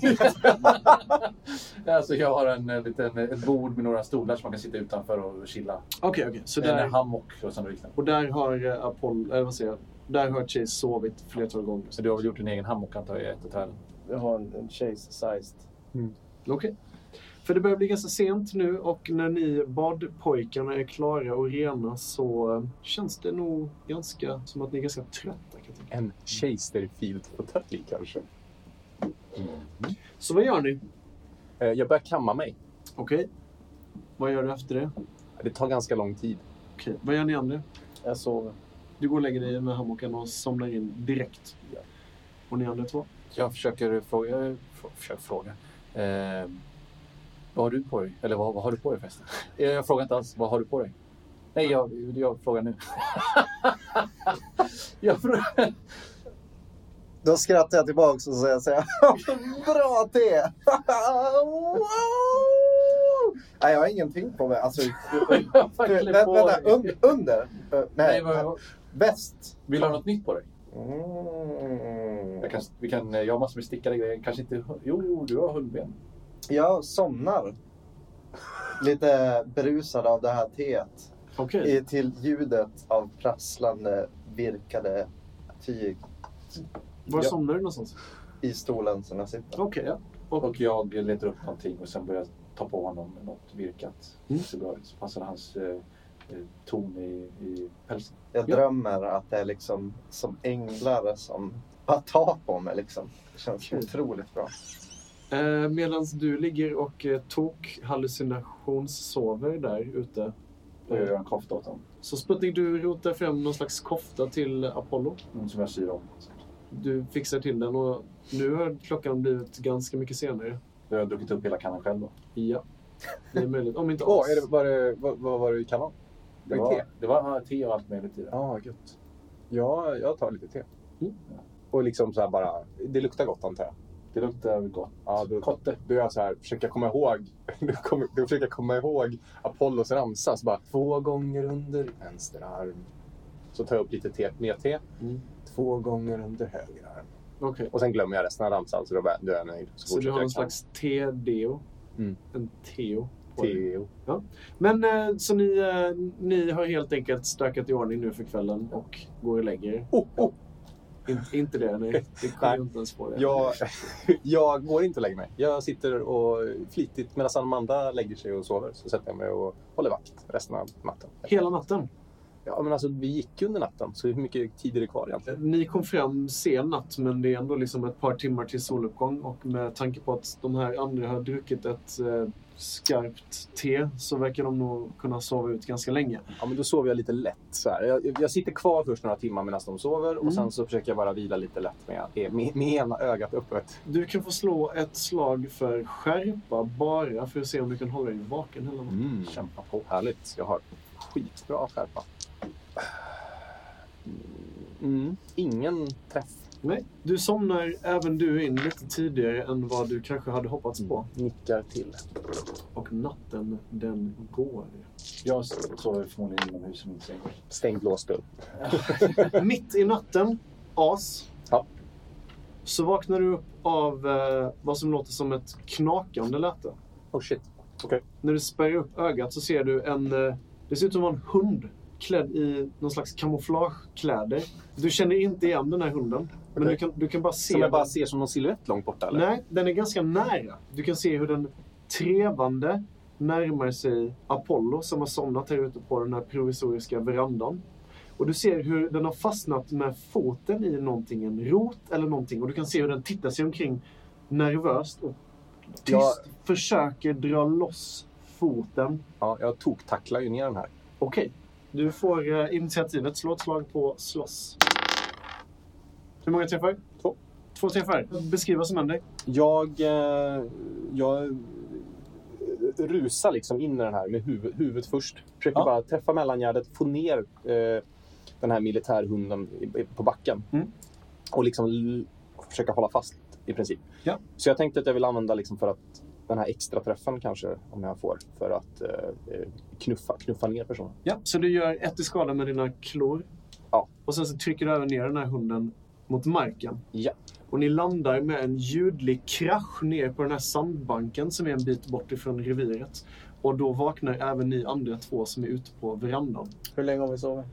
E: alltså jag har en eh, liten, eh, ett bord med några stolar som man kan sitta utanför och chilla.
C: Okej, okej. Så
E: En
C: där,
E: hammock och sånt liknande.
C: och där har eh, Apollo, eller vad säger jag? Där har Chase sovit flertal gånger.
E: Så du har väl gjort en egen hammock antar jag i ett hotell?
I: Jag har en, en chase-sized.
C: Okej. För det börjar bli ganska sent nu och när ni badpojkarna är klara och rena så eh, känns det nog ganska som att ni är ganska trötta. Kan jag tycka.
A: En Chasterfield-fåtölj kanske?
C: Så vad gör ni?
A: Eh, jag börjar kamma mig.
C: Okej. Vad gör du efter det?
A: Det tar ganska lång tid.
C: Okej. Vad gör ni andra?
I: Jag sover.
C: Du går och lägger dig i den här hammocken och somnar in direkt. Och ni andra två?
E: Jag försöker fråga... eh, frå- Försöker fråga. Eh, vad har du på dig? Eller vad, vad har du på dig förresten? Eh, Jag frågar inte alls. Vad har du på dig? Nej, jag, jag frågar nu. jag frågar...
F: Då skrattar jag tillbaka och säger så här. Bra te! Wow! Nej, jag har ingenting på mig. Alltså,
E: Verkligen
F: vänta,
E: på
F: vänta,
E: dig.
F: un, under? Eh,
E: Nej,
F: nej,
E: vad-
F: väst.
E: vill du ha något nytt på dig?
F: Mm.
E: Jag, kan, vi kan, eh, jag har massor med stickade grejer. Kanske inte... Jo, du har hundben.
F: Jag somnar. Lite berusad av det här teet.
C: Okej.
F: I- Till ljudet av prasslande virkade tyg
C: Var
F: Ja.
C: somnar du någonstans?
F: i stolen som jag sitter.
C: Okej, ja.
E: Och jag letar upp någonting och sen börjar jag ta på honom något virkat.
C: Mm.
E: Så, bra, ut. så passar hans eh, eh, ton i, i pälsen.
F: Jag
C: Ja.
F: drömmer att det är liksom som änglar som bara tar på mig liksom. Det känns
C: Kul.
F: otroligt bra.
C: Eh, Medan du ligger och eh, tok hallucinationssover där ute.
E: Och jag gör en kofta åt honom.
C: Så Sputnik, du rotar fram någon slags kofta till Apollo.
E: Mm, Som jag syr om.
C: Du fixar till den och nu har klockan blivit ganska mycket senare.
E: Då har jag druckit upp hela kannan själv då.
C: Ja, det är möjligt. Om inte
A: Åh,
C: alls.
A: är det, var det, vad, vad var det i kannan?
E: Det
A: Var det
E: var,
A: te?
E: det var te och allt möjligt i det.
A: Ja, gött. Ja, jag tar lite te.
C: Mm.
A: Och liksom så här bara, det luktar gott antar jag.
E: Det luktar gott.
A: Ja, då,
E: Kotte.
A: då är jag så här, försöker jag komma ihåg, då, kommer, då försöker jag komma ihåg Apollos ramsa. Så bara, två gånger under vänster arm. Så tar jag upp lite te, mer te.
C: Mm.
A: Två gånger under höger arm.
C: Okej,
A: Och sen glömmer jag resten av ramsan, så då, bara- då är jag nöjd.
C: så, du
A: fortsätter
C: har
A: jag
C: någon
A: kan.
C: slags T-deo.
A: Mm.
C: En teo. på dig.
A: Teo.
C: Men eh, så ni, eh, ni har helt enkelt stökat i ordning nu för kvällen och går och lägger er.
A: Oh, oh.
C: In, inte det, nej. Det kommer
A: Nej.
C: jag inte ens på. Det.
A: Jag, jag går inte och lägger mig. Jag sitter och flitigt, medan Amanda lägger sig och sover, så sätter jag mig och håller vakt resten av natten.
C: Hela natten.
A: Ja, men alltså, vi gick ju under natten, så hur mycket tid är det kvar egentligen?
C: Ni kom fram sen natt, men det är ändå liksom ett par timmar till soluppgång. Och med tanke på att de här andra har druckit ett eh, skarpt te så verkar de nog kunna sova ut ganska länge.
A: Ja, men då sover jag lite lätt. Så här. Jag, jag sitter kvar först några timmar medan de sover och
C: Mm.
A: sen så försöker jag bara vila lite lätt med, med, med ena ögat öppet.
C: Du kan få slå ett slag för skärpa bara för att se om du kan hålla dig vaken hela natten.
A: Mm. Kämpa på. Härligt. Jag har skitbra skärpa. Mm. Ingen träff.
C: Nej, du somnar även du in lite tidigare än vad du kanske hade hoppats på.
A: Mm. Nickar till.
C: Och natten, den går.
E: Jag sover förmodligen inomhus i min säng.
A: Stängd låst dörr.
C: Mitt i natten, as,
A: Ja.
C: så vaknar du upp av eh, vad som låter som ett knakande läte.
A: Oh shit.
C: När du spärrar upp ögat så ser du en... eh, Det ser ut som att vara en hund klädd i någon slags kamouflagekläder. Du känner inte igen den här hunden. Men
A: Okej.
C: du, kan, du kan bara se...
A: Som jag bara
C: den.
A: ser som någon silhuett långt borta eller?
C: Nej, den är ganska nära. Du kan se hur den trevande närmar sig Apollo som har somnat här ute på den här provisoriska verandan. Och du ser hur den har fastnat med foten i någonting, en rot eller någonting. Och du kan se hur den tittar sig omkring nervöst och tyst försöker dra loss foten.
A: Ja, jag toktacklar ju ner den här.
C: Okej, du får eh, initiativet. Slå ett slag på slåss. Hur många träffar?
A: Två.
C: Två träffar. Beskriv vad som händer.
A: Jag, eh, jag eh, rusar liksom in i den här med huvud, huvudet först. Försöker
E: Ja.
A: bara träffa mellangärdet, få ner eh, den här militärhunden i- i- på backen.
C: Mm.
A: Och liksom l- försöka hålla fast i princip.
C: Ja.
A: Så jag tänkte att jag vill använda liksom för att den här extra träffen kanske, om jag får, för att eh, eh, knuffa, knuffa ner personen.
C: Ja, så du gör ett i skada med dina klor.
A: Ja.
C: Och sen så trycker du även ner den här hunden mot marken.
A: Ja.
C: Och ni landar med en ljudlig krasch ner på den här sandbanken som är en bit bort ifrån reviret. Och då vaknar även ni andra två som är ute på verandan.
D: Hur länge har vi sovit?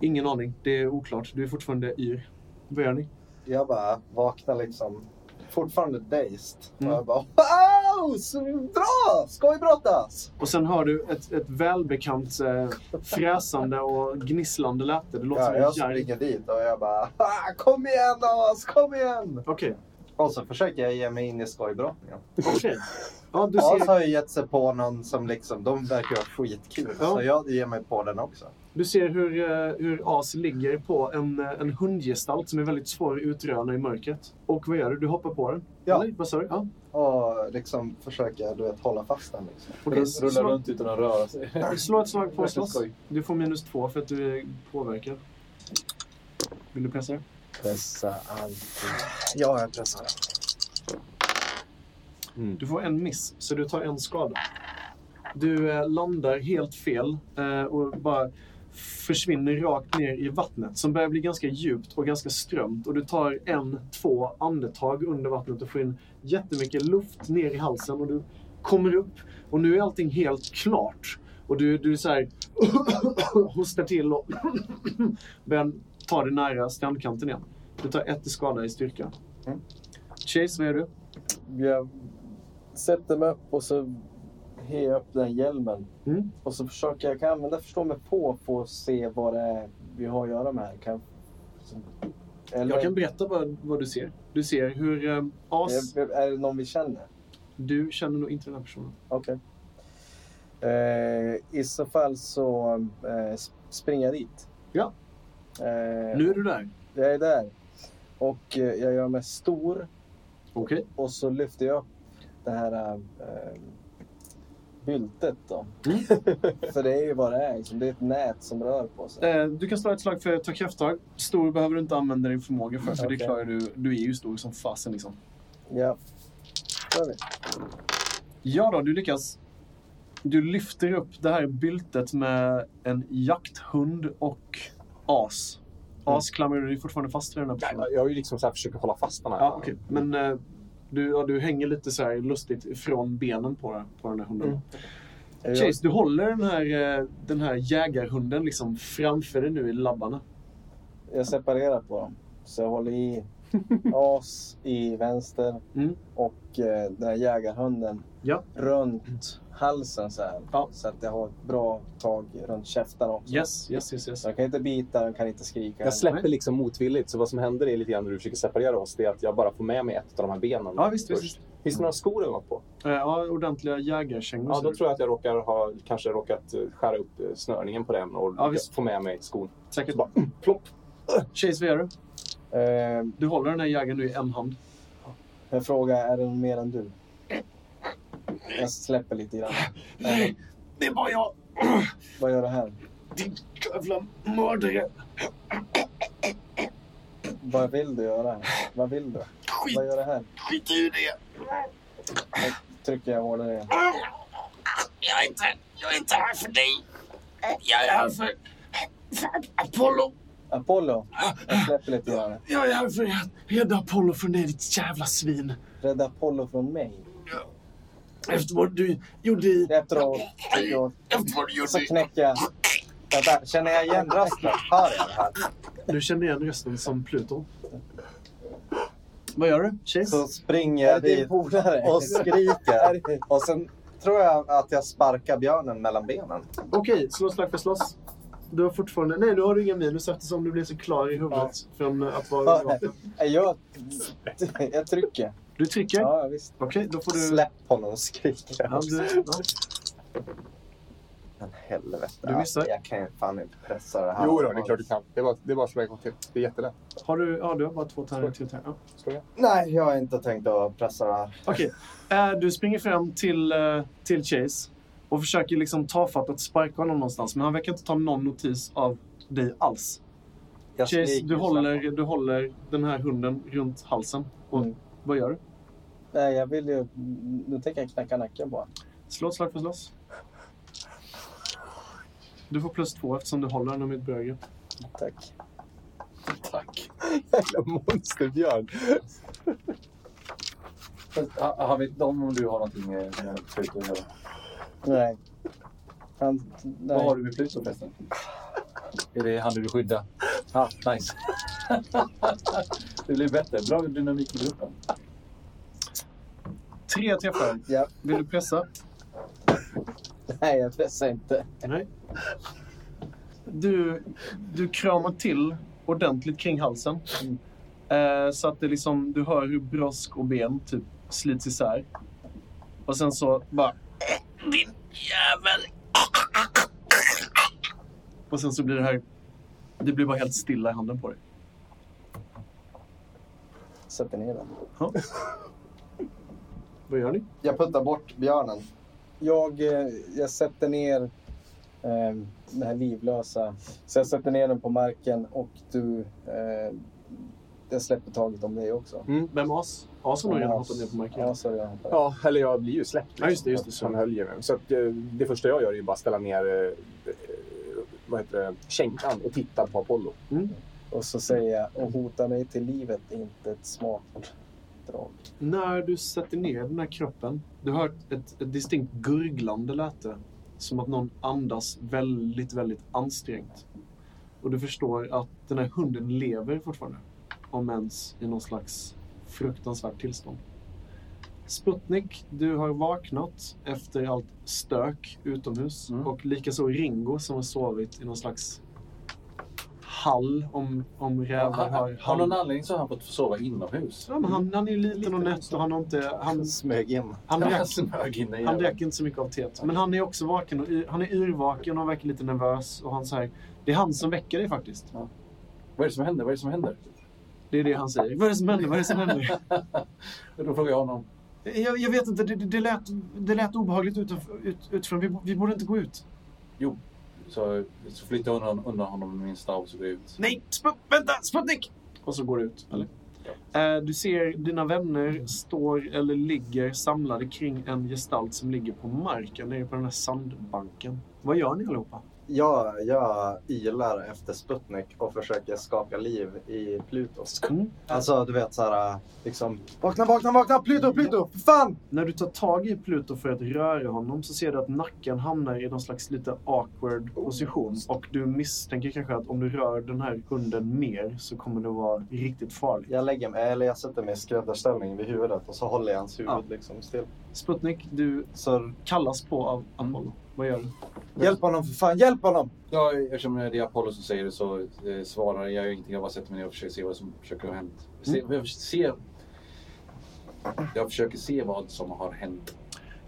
C: Ingen aning, det är oklart. Du är fortfarande yr. Vad gör ni?
F: Jag bara vaknar liksom fortfarande dazed.
C: Mm.
F: Och jag bara wow! Så bra! Skojbrottas!
C: Och sen hör du ett, ett välbekant eh, fräsande och gnisslande läte. Det låter
F: Ja, jag
C: som en järg.
F: springer dit och jag bara "Ah, kom igen as, kom igen!
C: Okej,
F: Och så försöker jag ge mig in i skojbrottningen.
C: okej. Ja, du
F: As
C: ser,
F: har ju gett sig på någon som liksom, de verkar ha skitkul.
C: Ja.
F: Så jag ger mig på den också.
C: du ser hur, eh, hur As ligger på en, eh, en hundgestalt som är väldigt svår att utröna i mörkret. Och vad gör du? Du hoppar på den?
F: Ja.
C: Eller, vad sa du? Ja.
F: Och liksom försöker du vet, hålla fast den. Liksom.
C: Okej,
E: Rulla
C: slå,
E: runt utan att röra sig.
C: slå ett slag på
E: Verkligen
C: slåss.
E: skoj.
C: Du får minus två för att du är påverkad. Vill du pressa det?
B: Pressa allt.
F: Ja, jag pressar.
C: Du får en miss, så du tar en skada. Du eh, landar helt fel eh, och bara försvinner rakt ner i vattnet som börjar bli ganska djupt och ganska strömt. Och du tar en, två andetag under vattnet och får in jättemycket luft ner i halsen och du kommer upp och nu är allting helt klart. Och du, du så här hostar till och börjar ta dig nära strandkanten igen. Du tar ett i skada i styrka.
F: Mm.
C: Chase, vad gör du?
B: Jag sätter mig upp och så hejar upp den hjälmen.
C: Mm.
B: Och så försöker jag, kan jag använda förstå mig på för att se vad det är vi har att göra med här? Kan, eller,
C: Jag kan berätta vad, vad du ser. Du ser hur eh, As...
B: är, är det någon vi känner?
C: Du känner nog inte den här personen.
B: Okej. Eh, I så fall så eh, sp- springer jag dit.
C: Ja.
B: Eh,
C: Nu är du där.
B: Jag är där. Och eh, jag gör mig stor
C: Okej.
B: och så lyfter jag upp det här eh, byltet då.
C: Mm.
B: För det är ju vad det är. Liksom. Det är ett nät som rör på sig.
C: Eh, du kan slå ett slag för att ta krafttag. Stor behöver du inte använda din förmåga för, för det
B: Okej.
C: klarar du. Du är ju stor som fasen liksom.
B: Ja. Kör vi.
C: Ja då, du lyckas. Du lyfter upp det här byltet med en jakthund och As. As klamrar du dig fortfarande fast vid den här personen.
A: Jag har ju liksom så här försöker hålla fast den här.
C: Ja, okej. Men eh, du, ja, du hänger lite så här lustigt från benen på, den- på den här hunden.
B: Är jag-
C: Chase, du håller den här, eh, den här jägarhunden liksom framför dig nu i labbarna.
B: Jag separerar på dem. Så jag håller i as i vänster
C: Mm.
B: och eh, den här jägarhunden
C: Ja.
B: runt halsen så här.
C: Ja.
B: Så att jag har ett bra tag runt käften också.
C: Yes, yes, yes. yes.
B: Så jag kan inte bita, jag kan inte skrika.
A: Jag släpper liksom motvilligt, så vad som händer är lite grann när du försöker separera oss, det är att jag bara får med mig ett av de här benen.
C: Ja, visst, visst.
A: först. Finns det några skor eller något på?
C: Eh, ja, ordentliga jägarkängor.
A: Ja,
C: ser
A: då
C: du.
A: tror jag att jag råkar ha, kanske råkat eh, skära upp eh, snörningen på den och
C: Ja,
A: ja,
C: visst.
A: få med mig skon.
C: Säkert.
A: Så bara, mm, plopp!
C: Chase, vad gör du?
B: Eh,
C: Du håller den här jägaren nu i en hand.
B: jag frågar, är det någon mer än du? Jag släpper lite grann. Eh,
C: Det är bara jag,
B: vad gör det här?
C: din jävla mördare.
B: Vad vill du göra? Vad vill du? Vad gör det här?
C: Skit i det.
B: Trycker jag hårdare igen.
J: Jag är, inte, jag är inte här för dig. Jag är här för, för Apollo.
B: Apollo! Jag släpper lite grann.
C: Jag är här för att hedra Apollo från dig, ditt jävla svin.
B: Rädda Apollo från mig.
C: Efter vad du gjorde i...
B: Efteråt, efteråt
J: Efter vad du
B: så
J: gjorde.
B: knäcker jag. Vänta, känner jag igen rösten? Hör jag det här?
C: Du känner igen rösten som Pluto. Vad gör du, Chase?
F: Så springer
B: Är
F: jag
B: det din
F: dit
B: polare?
F: och skriker. Och sen tror jag att jag sparkar björnen mellan benen.
C: Okej, slå slag för slåss. Du har fortfarande... Nej, nu har du inga minus eftersom du blev så klar i huvudet från att vara
B: Ja. Jag, jag trycker.
C: Du trycker.
B: Ja, visst.
C: Okej, då får du...
F: Släpp honom och skriker.
C: Ja, du... ja.
F: Men helvete.
C: Du missar.
F: Jag kan ju fan inte pressa det här.
G: Jo då, det är klart du kan. Det är bara, det är bara att slå en gång till. Det är jättelätt.
C: Har du... Ja, du har bara två tärningar till. tärningar. Ja.
F: Nej, jag har inte tänkt att pressa det här.
C: Okej, eh, du springer fram till, eh, till Chase och försöker liksom ta fatt att sparka honom någonstans. Men han verkar inte ta någon notis av dig alls.
F: Jag
C: Chase,
F: skriker
C: du
F: så här.
C: håller, du håller den här hunden runt halsen. Och
B: Mm.
C: vad gör du?
B: Nej, jag vill ju... Nu tänker jag knacka nacken bara.
C: Slå ett slag för slåss. Du får plus två eftersom du håller den om mitt brödgrepp.
B: Tack.
G: Jävla monsterbjörn.
E: Ha- Har vi de om du har någonting eh, med Pluto att göra?
B: Nej. Han...
E: Vad
B: Nej.
E: har du med Pluto förresten? Är det han du vill skydda? Ah, nice. det blir bättre. Bra dynamik i gruppen.
C: Tre träffar.
B: Ja.
C: Vill du pressa?
B: Nej, jag pressar inte.
C: Du, du kramar till ordentligt kring halsen. Eh, så att det liksom, du hör hur brosk och ben typ slits isär. Och sen så bara...
J: Din jävel.
C: Och sen så blir det här... Det blir bara helt stilla i handen på dig.
B: Sätter ner den.
C: Vad gör ni?
F: Jag puttar bort björnen.
B: Jag, eh, jag sätter ner eh, den här livlösa. Så jag sätter ner den på marken och du... Eh, jag släpper taget om dig också.
C: Vem As? As har nog redan
B: alltså,
C: hoppat ner på marken.
B: Ja, så har jag hoppat.
G: Ja, eller jag blir ju släppt.
C: Ja, just det, just det, så.
G: Så han höll ju mig. Så att, eh, det första jag gör är ju bara ställa ner eh, vad heter det, känkan och titta på Apollo.
B: Och så säger jag, och hota mig till livet är inte ett smart drag.
C: När du sätter ner den här kroppen, du hör ett, ett distinkt gurglande läte. Som att någon andas väldigt, väldigt ansträngt. Och du förstår att den här hunden lever fortfarande. Om ens i någon slags fruktansvärt tillstånd. Sputnik, du har vaknat efter allt stök utomhus.
E: Mm.
C: Och likaså Ringo som har sovit i någon slags hall. Om, om rävar har
E: Av
C: hall.
E: någon anledning så har han fått sova inomhus.
C: Ja, men han, han är ju liten och nätt och han har inte... Han,
F: Smög in.
C: han,
E: Han
C: drack,
E: smög in i
C: han
E: jäveln.
C: drack inte så mycket av teet. Men han är också vaken. Och, yr- han är yrvaken och verkar lite nervös. Och han så här, det är han som väcker dig faktiskt.
E: Vad är det som händer? Vad är det som händer?
C: Det är det han säger. Vad är det som händer? Vad är det som händer?
E: Och Då frågar jag honom.
C: Jag, jag vet inte. Det, det, det, lät, det lät obehagligt utanf- ut, utifrån. Vi, vi borde inte gå ut.
E: Så, så flyttar jag undan, undan honom med min stav så går jag ut.
C: Nej, sp- vänta! Sputnik! Och så går du ut. Eller? Eh, Du ser dina vänner står eller ligger samlade kring en gestalt som ligger på marken nere på den här sandbanken. Vad gör ni allihopa?
F: Jag, jag ilar efter Sputnik och försöker skaka liv i Pluto.
C: Mm.
F: Alltså, du vet så här, liksom... Vakna, vakna, vakna! Pluto, Pluto! För fan!
C: När du tar tag i Pluto för att röra honom så ser du att nacken hamnar i någon slags lite awkward position. Och du misstänker kanske att om du rör den här hunden mer så kommer det vara riktigt farligt.
F: Jag lägger mig, eller jag sätter mig i skräddarställning vid huvudet och så håller jag hans huvud
C: Ja.
F: liksom still.
C: Sputnik, du
F: Så
C: kallas på av Apollo. Vad gör du?
F: hjälp honom för fan, hjälp honom!
E: Ja, eftersom det är Apollo som säger det så eh, svarar jag ju ingenting. Jag bara sätter mig ner och försöker se vad som försöker ha hänt. Se, jag, försöker se, jag försöker se vad som har hänt.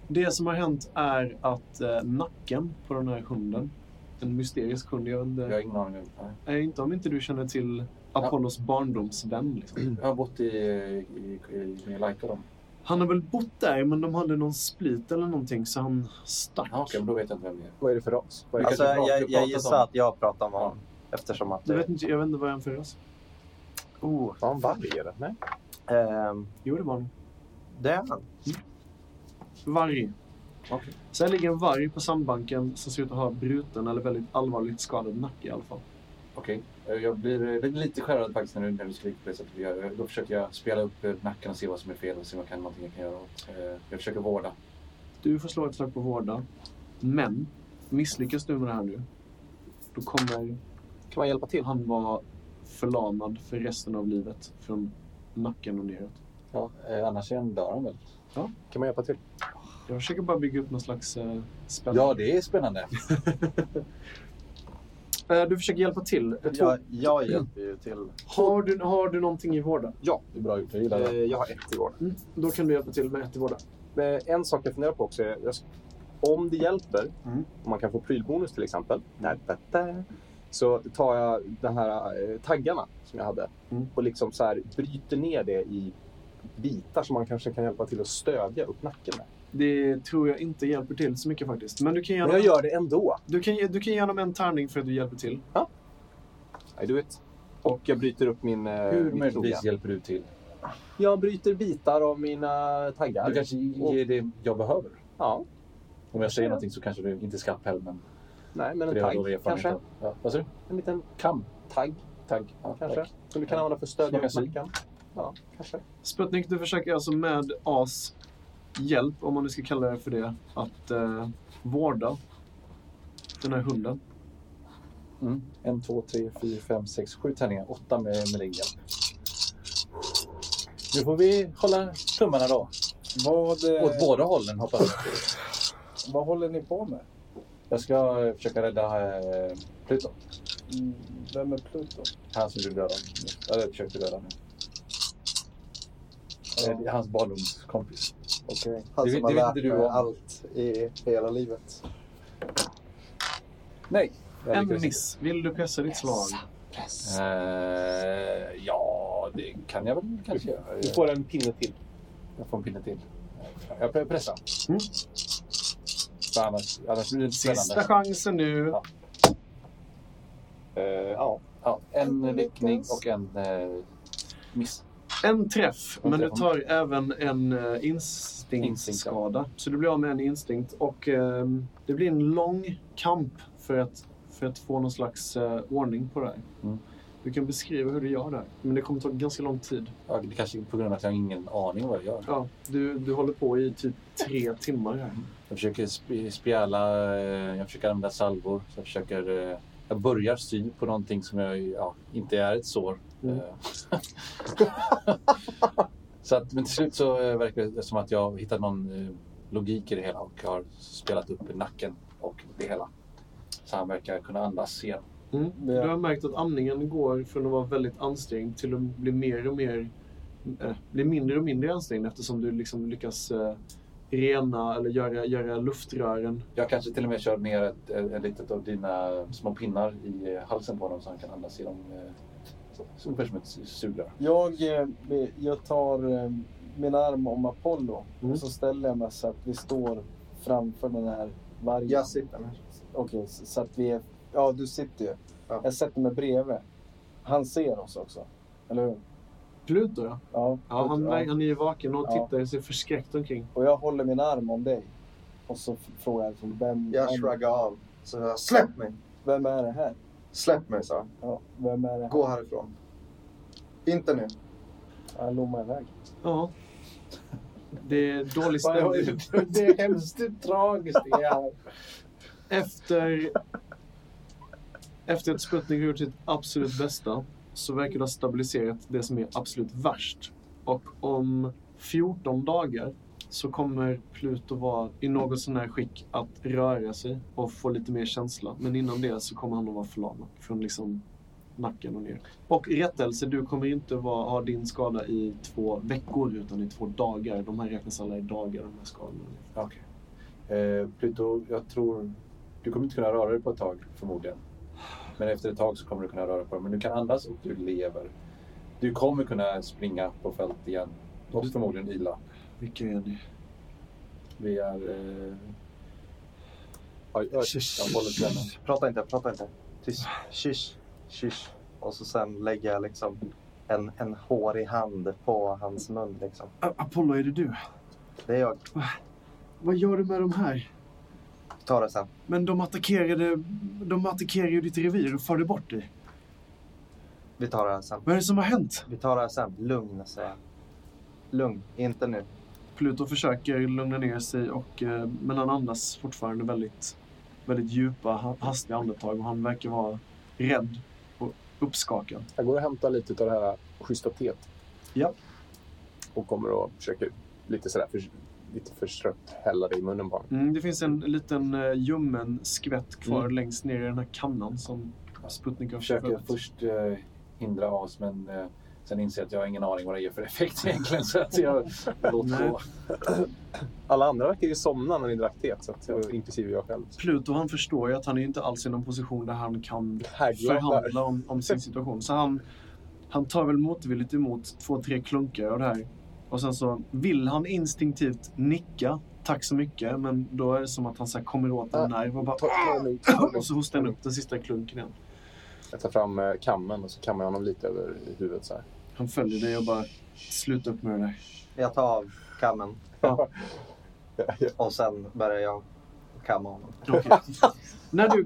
C: Det som har hänt är att eh, nacken på den här hunden, en mysterisk hund, jag vet inte,
E: Jag har ingen aning. om- nej.
C: är inte om inte du känner till Apollos barndomsvän. Liksom.
E: Jag har bott i, i, i, i Laikodom.
C: Han har väl bott där, men de hade någon split eller någonting så han stack.
E: Ja, okej, men då vet jag inte vem det är.
G: Vad är det för ras? Vad är det?
F: Alltså,
E: kanske pratar-
F: jag, jag
E: pratat
F: gissar
E: om-
F: att jag pratar med honom. Eftersom att
C: Jag
F: det...
C: vet inte, jag vet inte vad han för oss. Oh,
G: Var han varg eller? Nej.
F: Ehm,
C: jo det var han.
F: det är han.
C: Varg.
E: Okej.
C: Så här ligger en varg på sandbanken som ser ut att ha bruten eller väldigt allvarligt skadad nacke i alla fall.
E: Okej, eh, jag blir eh, lite skärrad faktiskt när du, när du skriker på det sättet du gör. Då försöker jag spela upp eh, nacken och se vad som är fel och se vad kan, någonting jag kan göra åt. Eh, Jag försöker vårda.
C: Du får slå ett slag på vårda. Men misslyckas du med det här nu, då kommer
G: Kan man hjälpa till?
C: han vara förlamad för resten av livet. Från nacken och neråt.
E: Ja, eh, annars är han dör han väl?
G: Kan man hjälpa till?
C: Jag försöker bara bygga upp någon slags eh, spänning.
E: Ja, det är spännande.
C: Eh, du försöker hjälpa till. Jag tror-
F: Jag, jag hjälper ju till.
C: Har, du, har du någonting i vårda?
G: Ja,
E: Det är bra gjort. Jag gillar
G: eh,
E: det.
G: jag har ett i år.
C: Mm. Då kan du hjälpa till med ett i vårda.
G: Eh, En sak jag funderar på också är jag, sk- om det hjälper,
C: Mm.
G: om man kan få prylbonus till exempel, där, där, där, så tar jag de här eh, taggarna som jag hade
C: Mm.
G: och liksom så här bryter ner det i bitar som man kanske kan hjälpa till att stödja upp nacken med.
C: Det tror jag inte hjälper till så mycket faktiskt. Men du kan ge
G: Men jag
C: honom,
G: gör det ändå.
C: du kan, ge- du kan ge honom en tärning för att du hjälper till.
G: I do it. Och jag bryter upp min... eh,
E: Hur
G: mitt
E: möjligtvis
G: kloga.
E: hjälper du till?
A: Jag bryter bitar av mina taggar.
E: Du kanske ger det jag behöver.
A: Ja,
E: Om jag säger någonting så kanske du inte ska pell, men
A: nej, men
E: för
A: en
E: det har jag
A: tagg
E: dålig erfarenhet
A: kanske.
E: av. Ja. Vad sa du?
A: En liten
E: Kam?
A: tagg
E: Tagg? Ja,
A: kanske.
E: tack.
A: Som du kan använda för att stödja
E: Smaka sig.
A: marken. Ja, kanske.
C: Sputnik, du försöker alltså med As hjälp, om man nu ska kalla det för det, att eh, vårda den här hunden.
E: Mm. En, två, tre, fyra, fem, sex, sju tärningar. Åtta med, med din hjälp. Nu får vi hålla tummarna då.
B: Vad, eh,
E: Åt båda hållen hoppas jag.
B: vad håller ni på med?
E: Jag ska eh, försöka rädda eh, Pluto.
B: Mm, Vem är Pluto?
E: Han som du dödade. Eller försökte döda nu.
F: Ja.
E: Eh, det är Hans barndomskompis.
F: Okej.
E: Det
F: Han
E: vet-
F: som har
E: det vet
F: lärt
E: inte du
F: mig
E: om.
F: allt i hela livet.
E: Nej. jag
C: En
E: lyckades
C: miss. Vill du pressa ditt slag?
E: inte. Eh, ja, det kan jag väl kanske göra.
A: Du får en pinne till.
E: Jag får en pinne till. Eh, Jag pre- pressar.
C: Mm.
E: För annars, annars blir det inte
C: Sista
E: spännande.
C: chansen nu.
E: Ja.
A: Eh, ja.
E: Ja, en vickning och en eh, miss.
C: En träff,
E: En
C: men du
E: träff.
C: tar även en eh, instinktsskada. Så du blir av med en instinkt. Och ehm, det blir en lång kamp för att, för att få någon slags eh, ordning på det här.
E: Mm.
C: Du kan beskriva hur du gör det här, men det kommer ta ganska lång tid.
E: Ja, det kanske är på grund av att jag har ingen aning vad jag gör.
C: Ja, du, du håller på i typ tre timmar här.
E: Jag försöker sp- spjäla, eh, jag försöker använda salvor. Så jag, försöker, eh, jag börjar sy på någonting som jag, ja, inte är ett sår.
C: Mm.
E: Eh, så att, men till slut så eh, verkar det som att jag har hittat någon eh, logik i det hela och har spelat upp nacken och det hela. Så han verkar kunna andas igen.
C: Mm.
B: Ja.
C: Du har märkt att andningen går från att vara väldigt ansträngd till att bli mer och mer eh, bli mindre och mindre ansträngd eftersom du liksom lyckas eh, rena eller göra, göra luftrören.
E: Jag kanske till och med kör ner ett, ett, ett litet av dina små pinnar i eh, halsen på honom så han kan andas genom eh, så- ungefär som ett su- sugrör.
B: Jag, eh, jag tar eh, min arm om Apollo
C: Mm.
B: och så ställer jag mig så att vi står framför den här vargen.
F: Jag sitter här.
B: Okej, så så att vi är... Ja, du sitter ju.
F: Ja.
B: Jag sätter mig bredvid. Han ser oss också, eller hur?
C: Pluto, ja.
B: Ja,
C: ja han,
B: ja.
C: han är ju vaken och
B: Ja.
C: tittar sig förskräckt omkring.
B: Och jag håller min arm om dig. Och så f- frågar jag liksom, vem,
F: Jag
B: vem,
F: shruggar av. Så jag, släpp mig!
B: vem är det här?
F: Släpp mig, sa jag.
B: Ja, vem är det här?
F: Gå härifrån. Inte nu.
B: Han lommar iväg.
C: Ja. Det är dålig stämning.
D: Det är hemskt tragiskt. Det är.
C: Efter, efter att Sputnik har gjort sitt absolut bästa så verkar det ha stabiliserat det som är absolut värst. Och om 14 dagar så kommer Pluto vara i något sån här skick att röra sig och få lite mer känsla. Men innan det så kommer han att vara förlamad från liksom nacken och ner. Och i rättelse, du kommer inte vara, ha din skada i två veckor utan i två dagar. De här räknas alla i dagar, de här skadorna.
E: Okay. Eh, Pluto, jag tror... Du kommer inte kunna röra dig på ett tag förmodligen. Men efter ett tag så kommer du kunna röra på dig. Men du kan andas och du lever. Du kommer kunna springa på fält igen. Och förmodligen ila.
C: Vilka är ni?
E: Vi är... Eh,
G: Ja, jag,
E: jag håller till henne.
F: Prata inte, prata inte. Tyst. Kyss, kyss. Och så sen lägger jag liksom en, en hårig hand på hans mun. Liksom.
C: A- Apollo, är det du?
F: Det är jag.
C: Vad gör du med de här?
F: Ta det sen.
C: Men de attackerade... De attackerade ju ditt revir och förde bort dig.
F: Vi tar det här sen.
C: Vad är det som har hänt?
F: Vi tar det här sen. Lugn, säger jag. Lugn, inte nu.
C: Pluto försöker lugna ner sig, och, eh, men han andas fortfarande väldigt, väldigt djupa, ha- hastiga andetag och han verkar vara rädd och uppskakad.
A: jag går och hämtar lite av det här schyssta teet.
C: Ja.
A: Och kommer och försöker lite sådär för, lite förstrött hälla det i munnen på honom.
C: Mm, det finns en liten eh, ljummen skvätt kvar längst ner i den här kannan som Sputnik har
E: Jag Mm. försöker
C: förstört.
E: först eh, hindra oss men eh, sen inser jag att jag har ingen aning vad det ger för effekt egentligen. Så att jag låter
C: Nej.
E: gå.
A: Alla andra verkar ju somna när ni drack teet, så att, inklusive jag själv.
C: Pluto han förstår ju att han är inte alls i någon position där han kan
A: Häglar där.
C: förhandla om, om sin situation. Så han, han tar väl motvilligt emot två, tre klunkar av det här. Och sen så vill han instinktivt nicka, tack så mycket, men då är det som att han så här kommer åt en nerv och bara...
A: Ah!
C: Och så hostar han upp den sista klunken igen.
A: Jag tar fram eh, kammen och så kammar jag honom lite över huvudet så här.
C: Han följer dig och bara sluta upp med det där.
F: Jag tar av kammen.
C: Ja.
F: Och sen börjar jag kamma honom.
C: Okej. när du,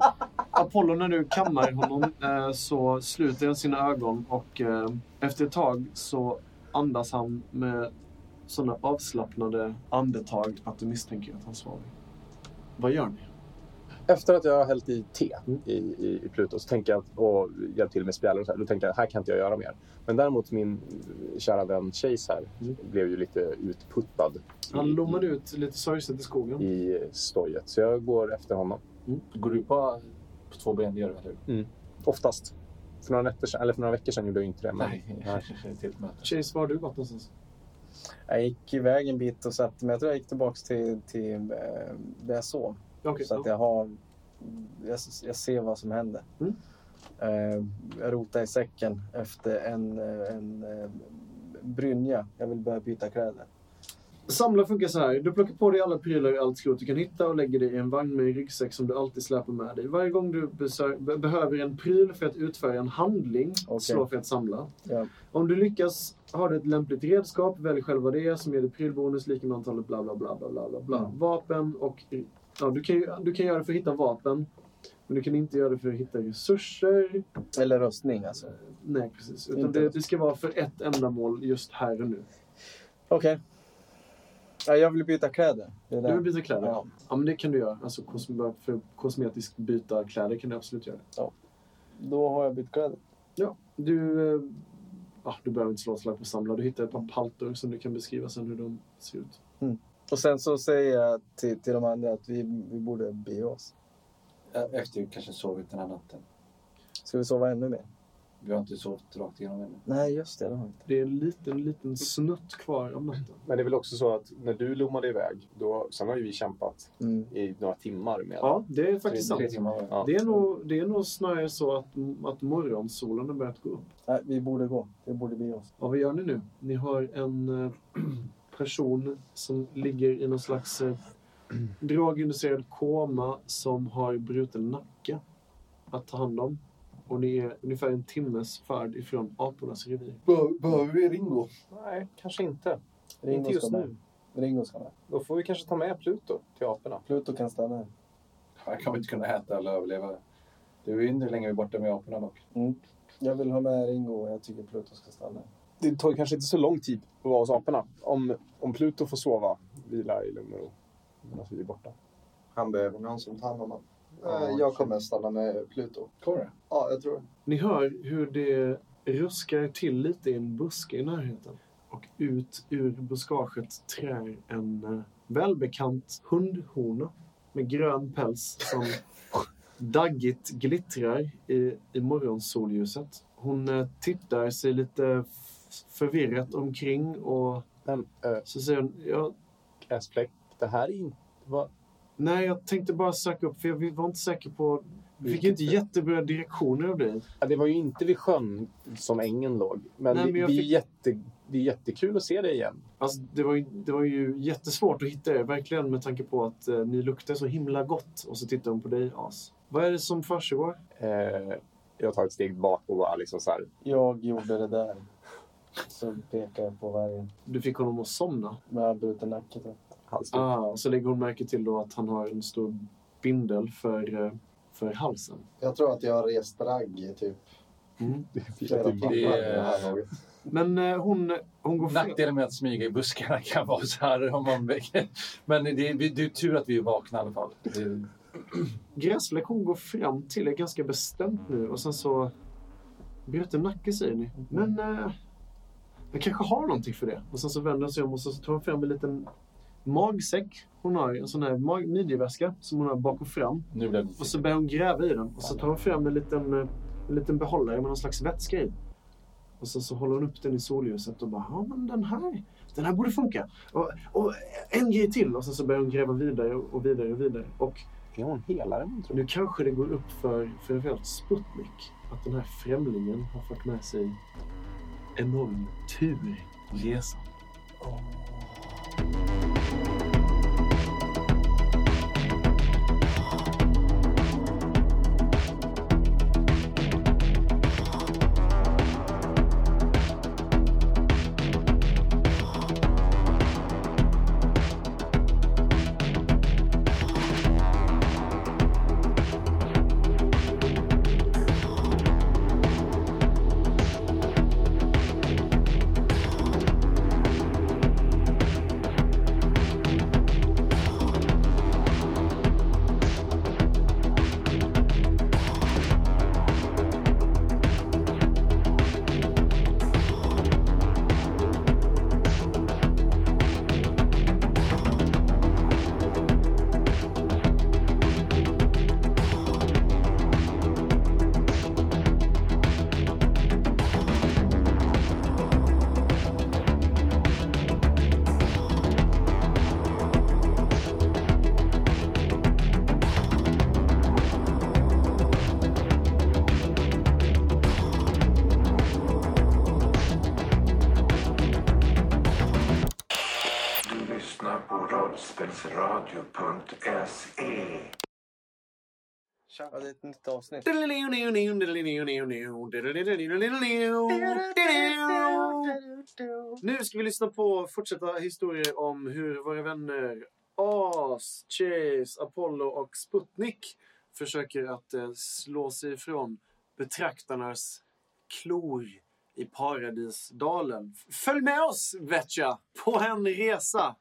C: Apollo, när du kammar honom eh, så sluter han sina ögon och eh, efter ett tag så andas han med sådana avslappnade andetag att du misstänker att han sover. Vad gör ni?
A: Efter att jag har hällt i te i, i, i Pluto så tänker jag, och hjälpt till med spjälor och så här, då tänker jag här kan inte jag göra mer. Men däremot min kära vän Chase här blev ju lite utputtad
C: Han
A: i-
C: lommade ut lite sorgset i skogen.
A: i stojet. Så jag går efter honom.
E: Går du på, på två ben? Det gör du, eller hur?
A: Oftast. För några, nätter sedan, eller för några veckor sedan gjorde jag inte det. Men
E: Nej. Till ett möte.
C: Chase, var har du varit någonstans?
B: Jag gick iväg en bit och satte mig. Jag tror jag gick tillbaka till, till eh, där jag sov.
C: Okej,
B: Så att jag har... Jag, jag ser vad som händer.
C: Mm.
B: Eh, jag rotar i säcken efter en, eh, en eh, brynja. Jag vill börja byta kläder.
C: Samla funkar så här. Du plockar på dig alla prylar och allt skrot du kan hitta och lägger det i en vagn med en ryggsäck som du alltid släpar med dig. Varje gång du besö- be- behöver en pryl för att utföra en handling,
B: Okej.
C: slå för att samla.
B: Ja.
C: Om du lyckas har du ett lämpligt redskap, välj själva det som ger dig prylbonus, lika med antalet bla bla bla bla bla bla. bla.
B: Mm.
C: Vapen och... Ja, du, kan ju, du kan göra det för att hitta vapen, men du kan inte göra det för att hitta resurser.
B: Eller röstning alltså.
C: Nej, precis. Utan
B: Inte.
C: det, det ska vara för ett ändamål just här och nu.
B: Okej. Ja, jag vill byta kläder. Det är
C: Du vill
B: där.
C: byta kläder?
B: Ja.
C: Ja. men det kan du göra. Alltså kosme- för kosmetiskt byta kläder kan du absolut göra.
B: Då har jag bytt kläder.
C: Ja. Du, eh, ah, du behöver inte slå ett slag på samla. Du hittar ett par paltor som du kan beskriva sen hur de ser ut.
B: Och sen så säger jag till, till de andra att vi, vi borde bege oss.
E: Eh, Efter vi kanske sovit den här natten.
B: Ska vi sova ännu mer?
E: Vi har inte sovit rakt igenom ännu.
B: Nej, just det. det har vi inte.
C: Det är en liten, liten snutt kvar av natten.
A: Men det är väl också så att när du lommade iväg, då, sen har ju vi kämpat
B: Mm.
A: i några timmar med
C: Ja, det är faktiskt sant.
E: Tre timmar.
A: Ja.
C: Det är, nog, det är nog snarare så att, att morgonsolen har börjat gå upp.
B: Nej, vi borde gå. Vi borde bege oss.
C: Ja, vad gör ni nu? Ni har en eh, person som ligger i någon slags eh, droginducerad koma som har bruten nacke att ta hand om. Och ni är ungefär en timmes färd ifrån apornas revir.
E: Behöver vi Ringo?
A: Nej, kanske inte.
B: Ringo
A: inte just
B: ska
A: nu.
B: med. Ringo ska med.
A: Då får vi kanske ta med Pluto till aporna.
B: Pluto kan stanna här.
E: Han kommer inte kunna äta eller överleva. Det är ju inte hur länge vi är borta med aporna dock.
B: Mm. Jag vill ha med Ringo och jag tycker Pluto ska stanna.
A: Det tar ju kanske inte så lång tid att vara hos aporna. Om, om Pluto får sova, vila i lugn och ro medan vi är borta.
F: Han behöver någon som tar hand om honom. Eh, Jag kommer stanna med Pluto.
E: Kommer det?
F: Ja, jag tror det.
C: Ni hör hur det ruskar till lite i en buske i närheten. Och ut ur buskaget trär en eh, välbekant hundhona med grön päls som daggigt glittrar i, i morgonsolljuset. Hon eh, tittar sig lite f- förvirrat omkring och
A: Men äh,
C: så säger hon ja,
A: Äsfläck, det här är inte... Vad?
C: Nej, jag tänkte bara söka upp för jag var inte säker på... Vi fick ju inte jättebra direktioner av dig.
A: Ja, Det var ju inte vid sjön som ängen låg. Men,
C: Nej,
A: det-
C: men jag
A: det, är
C: fick-
A: jätte, det är jättekul att se dig igen.
C: Alltså, det, var ju, det var ju jättesvårt att hitta er, verkligen med tanke på att eh, ni luktar så himla gott. Och så tittar hon på dig, As. Vad är det som försiggår?
A: Eh, jag tar ett steg bak och bara liksom så här...
B: Jag gjorde det där. Så pekar jag på vargen.
C: Du fick honom att somna.
B: Med jag bruten nacke. tror jag.
A: halsen.
C: Ah, och så lägger hon märke till då att han har en stor bindel för, eh, för halsen.
F: Jag tror att jag har rest ragg i typ
A: Fyra
F: flera
E: Mm.
A: timmar.
F: timmar.
E: Det är- typ-
F: vid det här laget.
C: Men eh, hon, hon går fram.
E: Nackdelen med att smyga i buskarna kan vara så här om man väcker. Men det är, det är tur att vi är vakna i alla fall. Det är,
C: Gräsfläck hon går fram till är ganska bestämt nu och sen så... Bruten nacke säger ni. Men... Eh, jag kanske har någonting för det. Och sen så vänder hon sig om och så tar hon fram en liten magsäck. Hon har en sån här mag- midjeväska som hon har bak och fram.
E: nu blev det
C: Och så börjar hon gräva i den. Och så tar hon fram en liten, eh, en liten behållare med någon slags vätska i. Och så, så håller hon upp den i solljuset och bara, ja men den här, den här borde funka. Och, och en grej till. Och sen så börjar hon gräva vidare och vidare och vidare. Och
A: Är hon helare tror
C: nu kanske det går upp för framförallt Sputnik att den här främlingen har fått med sig enorm tur på resan.
B: Ja, det är ett nytt avsnitt.
C: Nu ska vi lyssna på fortsatta historier om hur våra vänner As, Chase, Apollo och Sputnik försöker att eh, slå sig ifrån betraktarnas klor i paradisdalen. Följ med oss, Vetja, på en resa!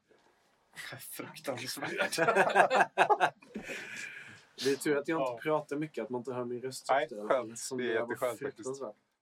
K: Fruktansvärt.
C: Det är tur att jag inte
K: Ja.
C: pratar mycket, att man inte hör min röst.
K: Nej,
C: efter,
K: skönt.
C: som
K: Det är
C: var
K: jätteskönt faktiskt.
C: fruktansvärt.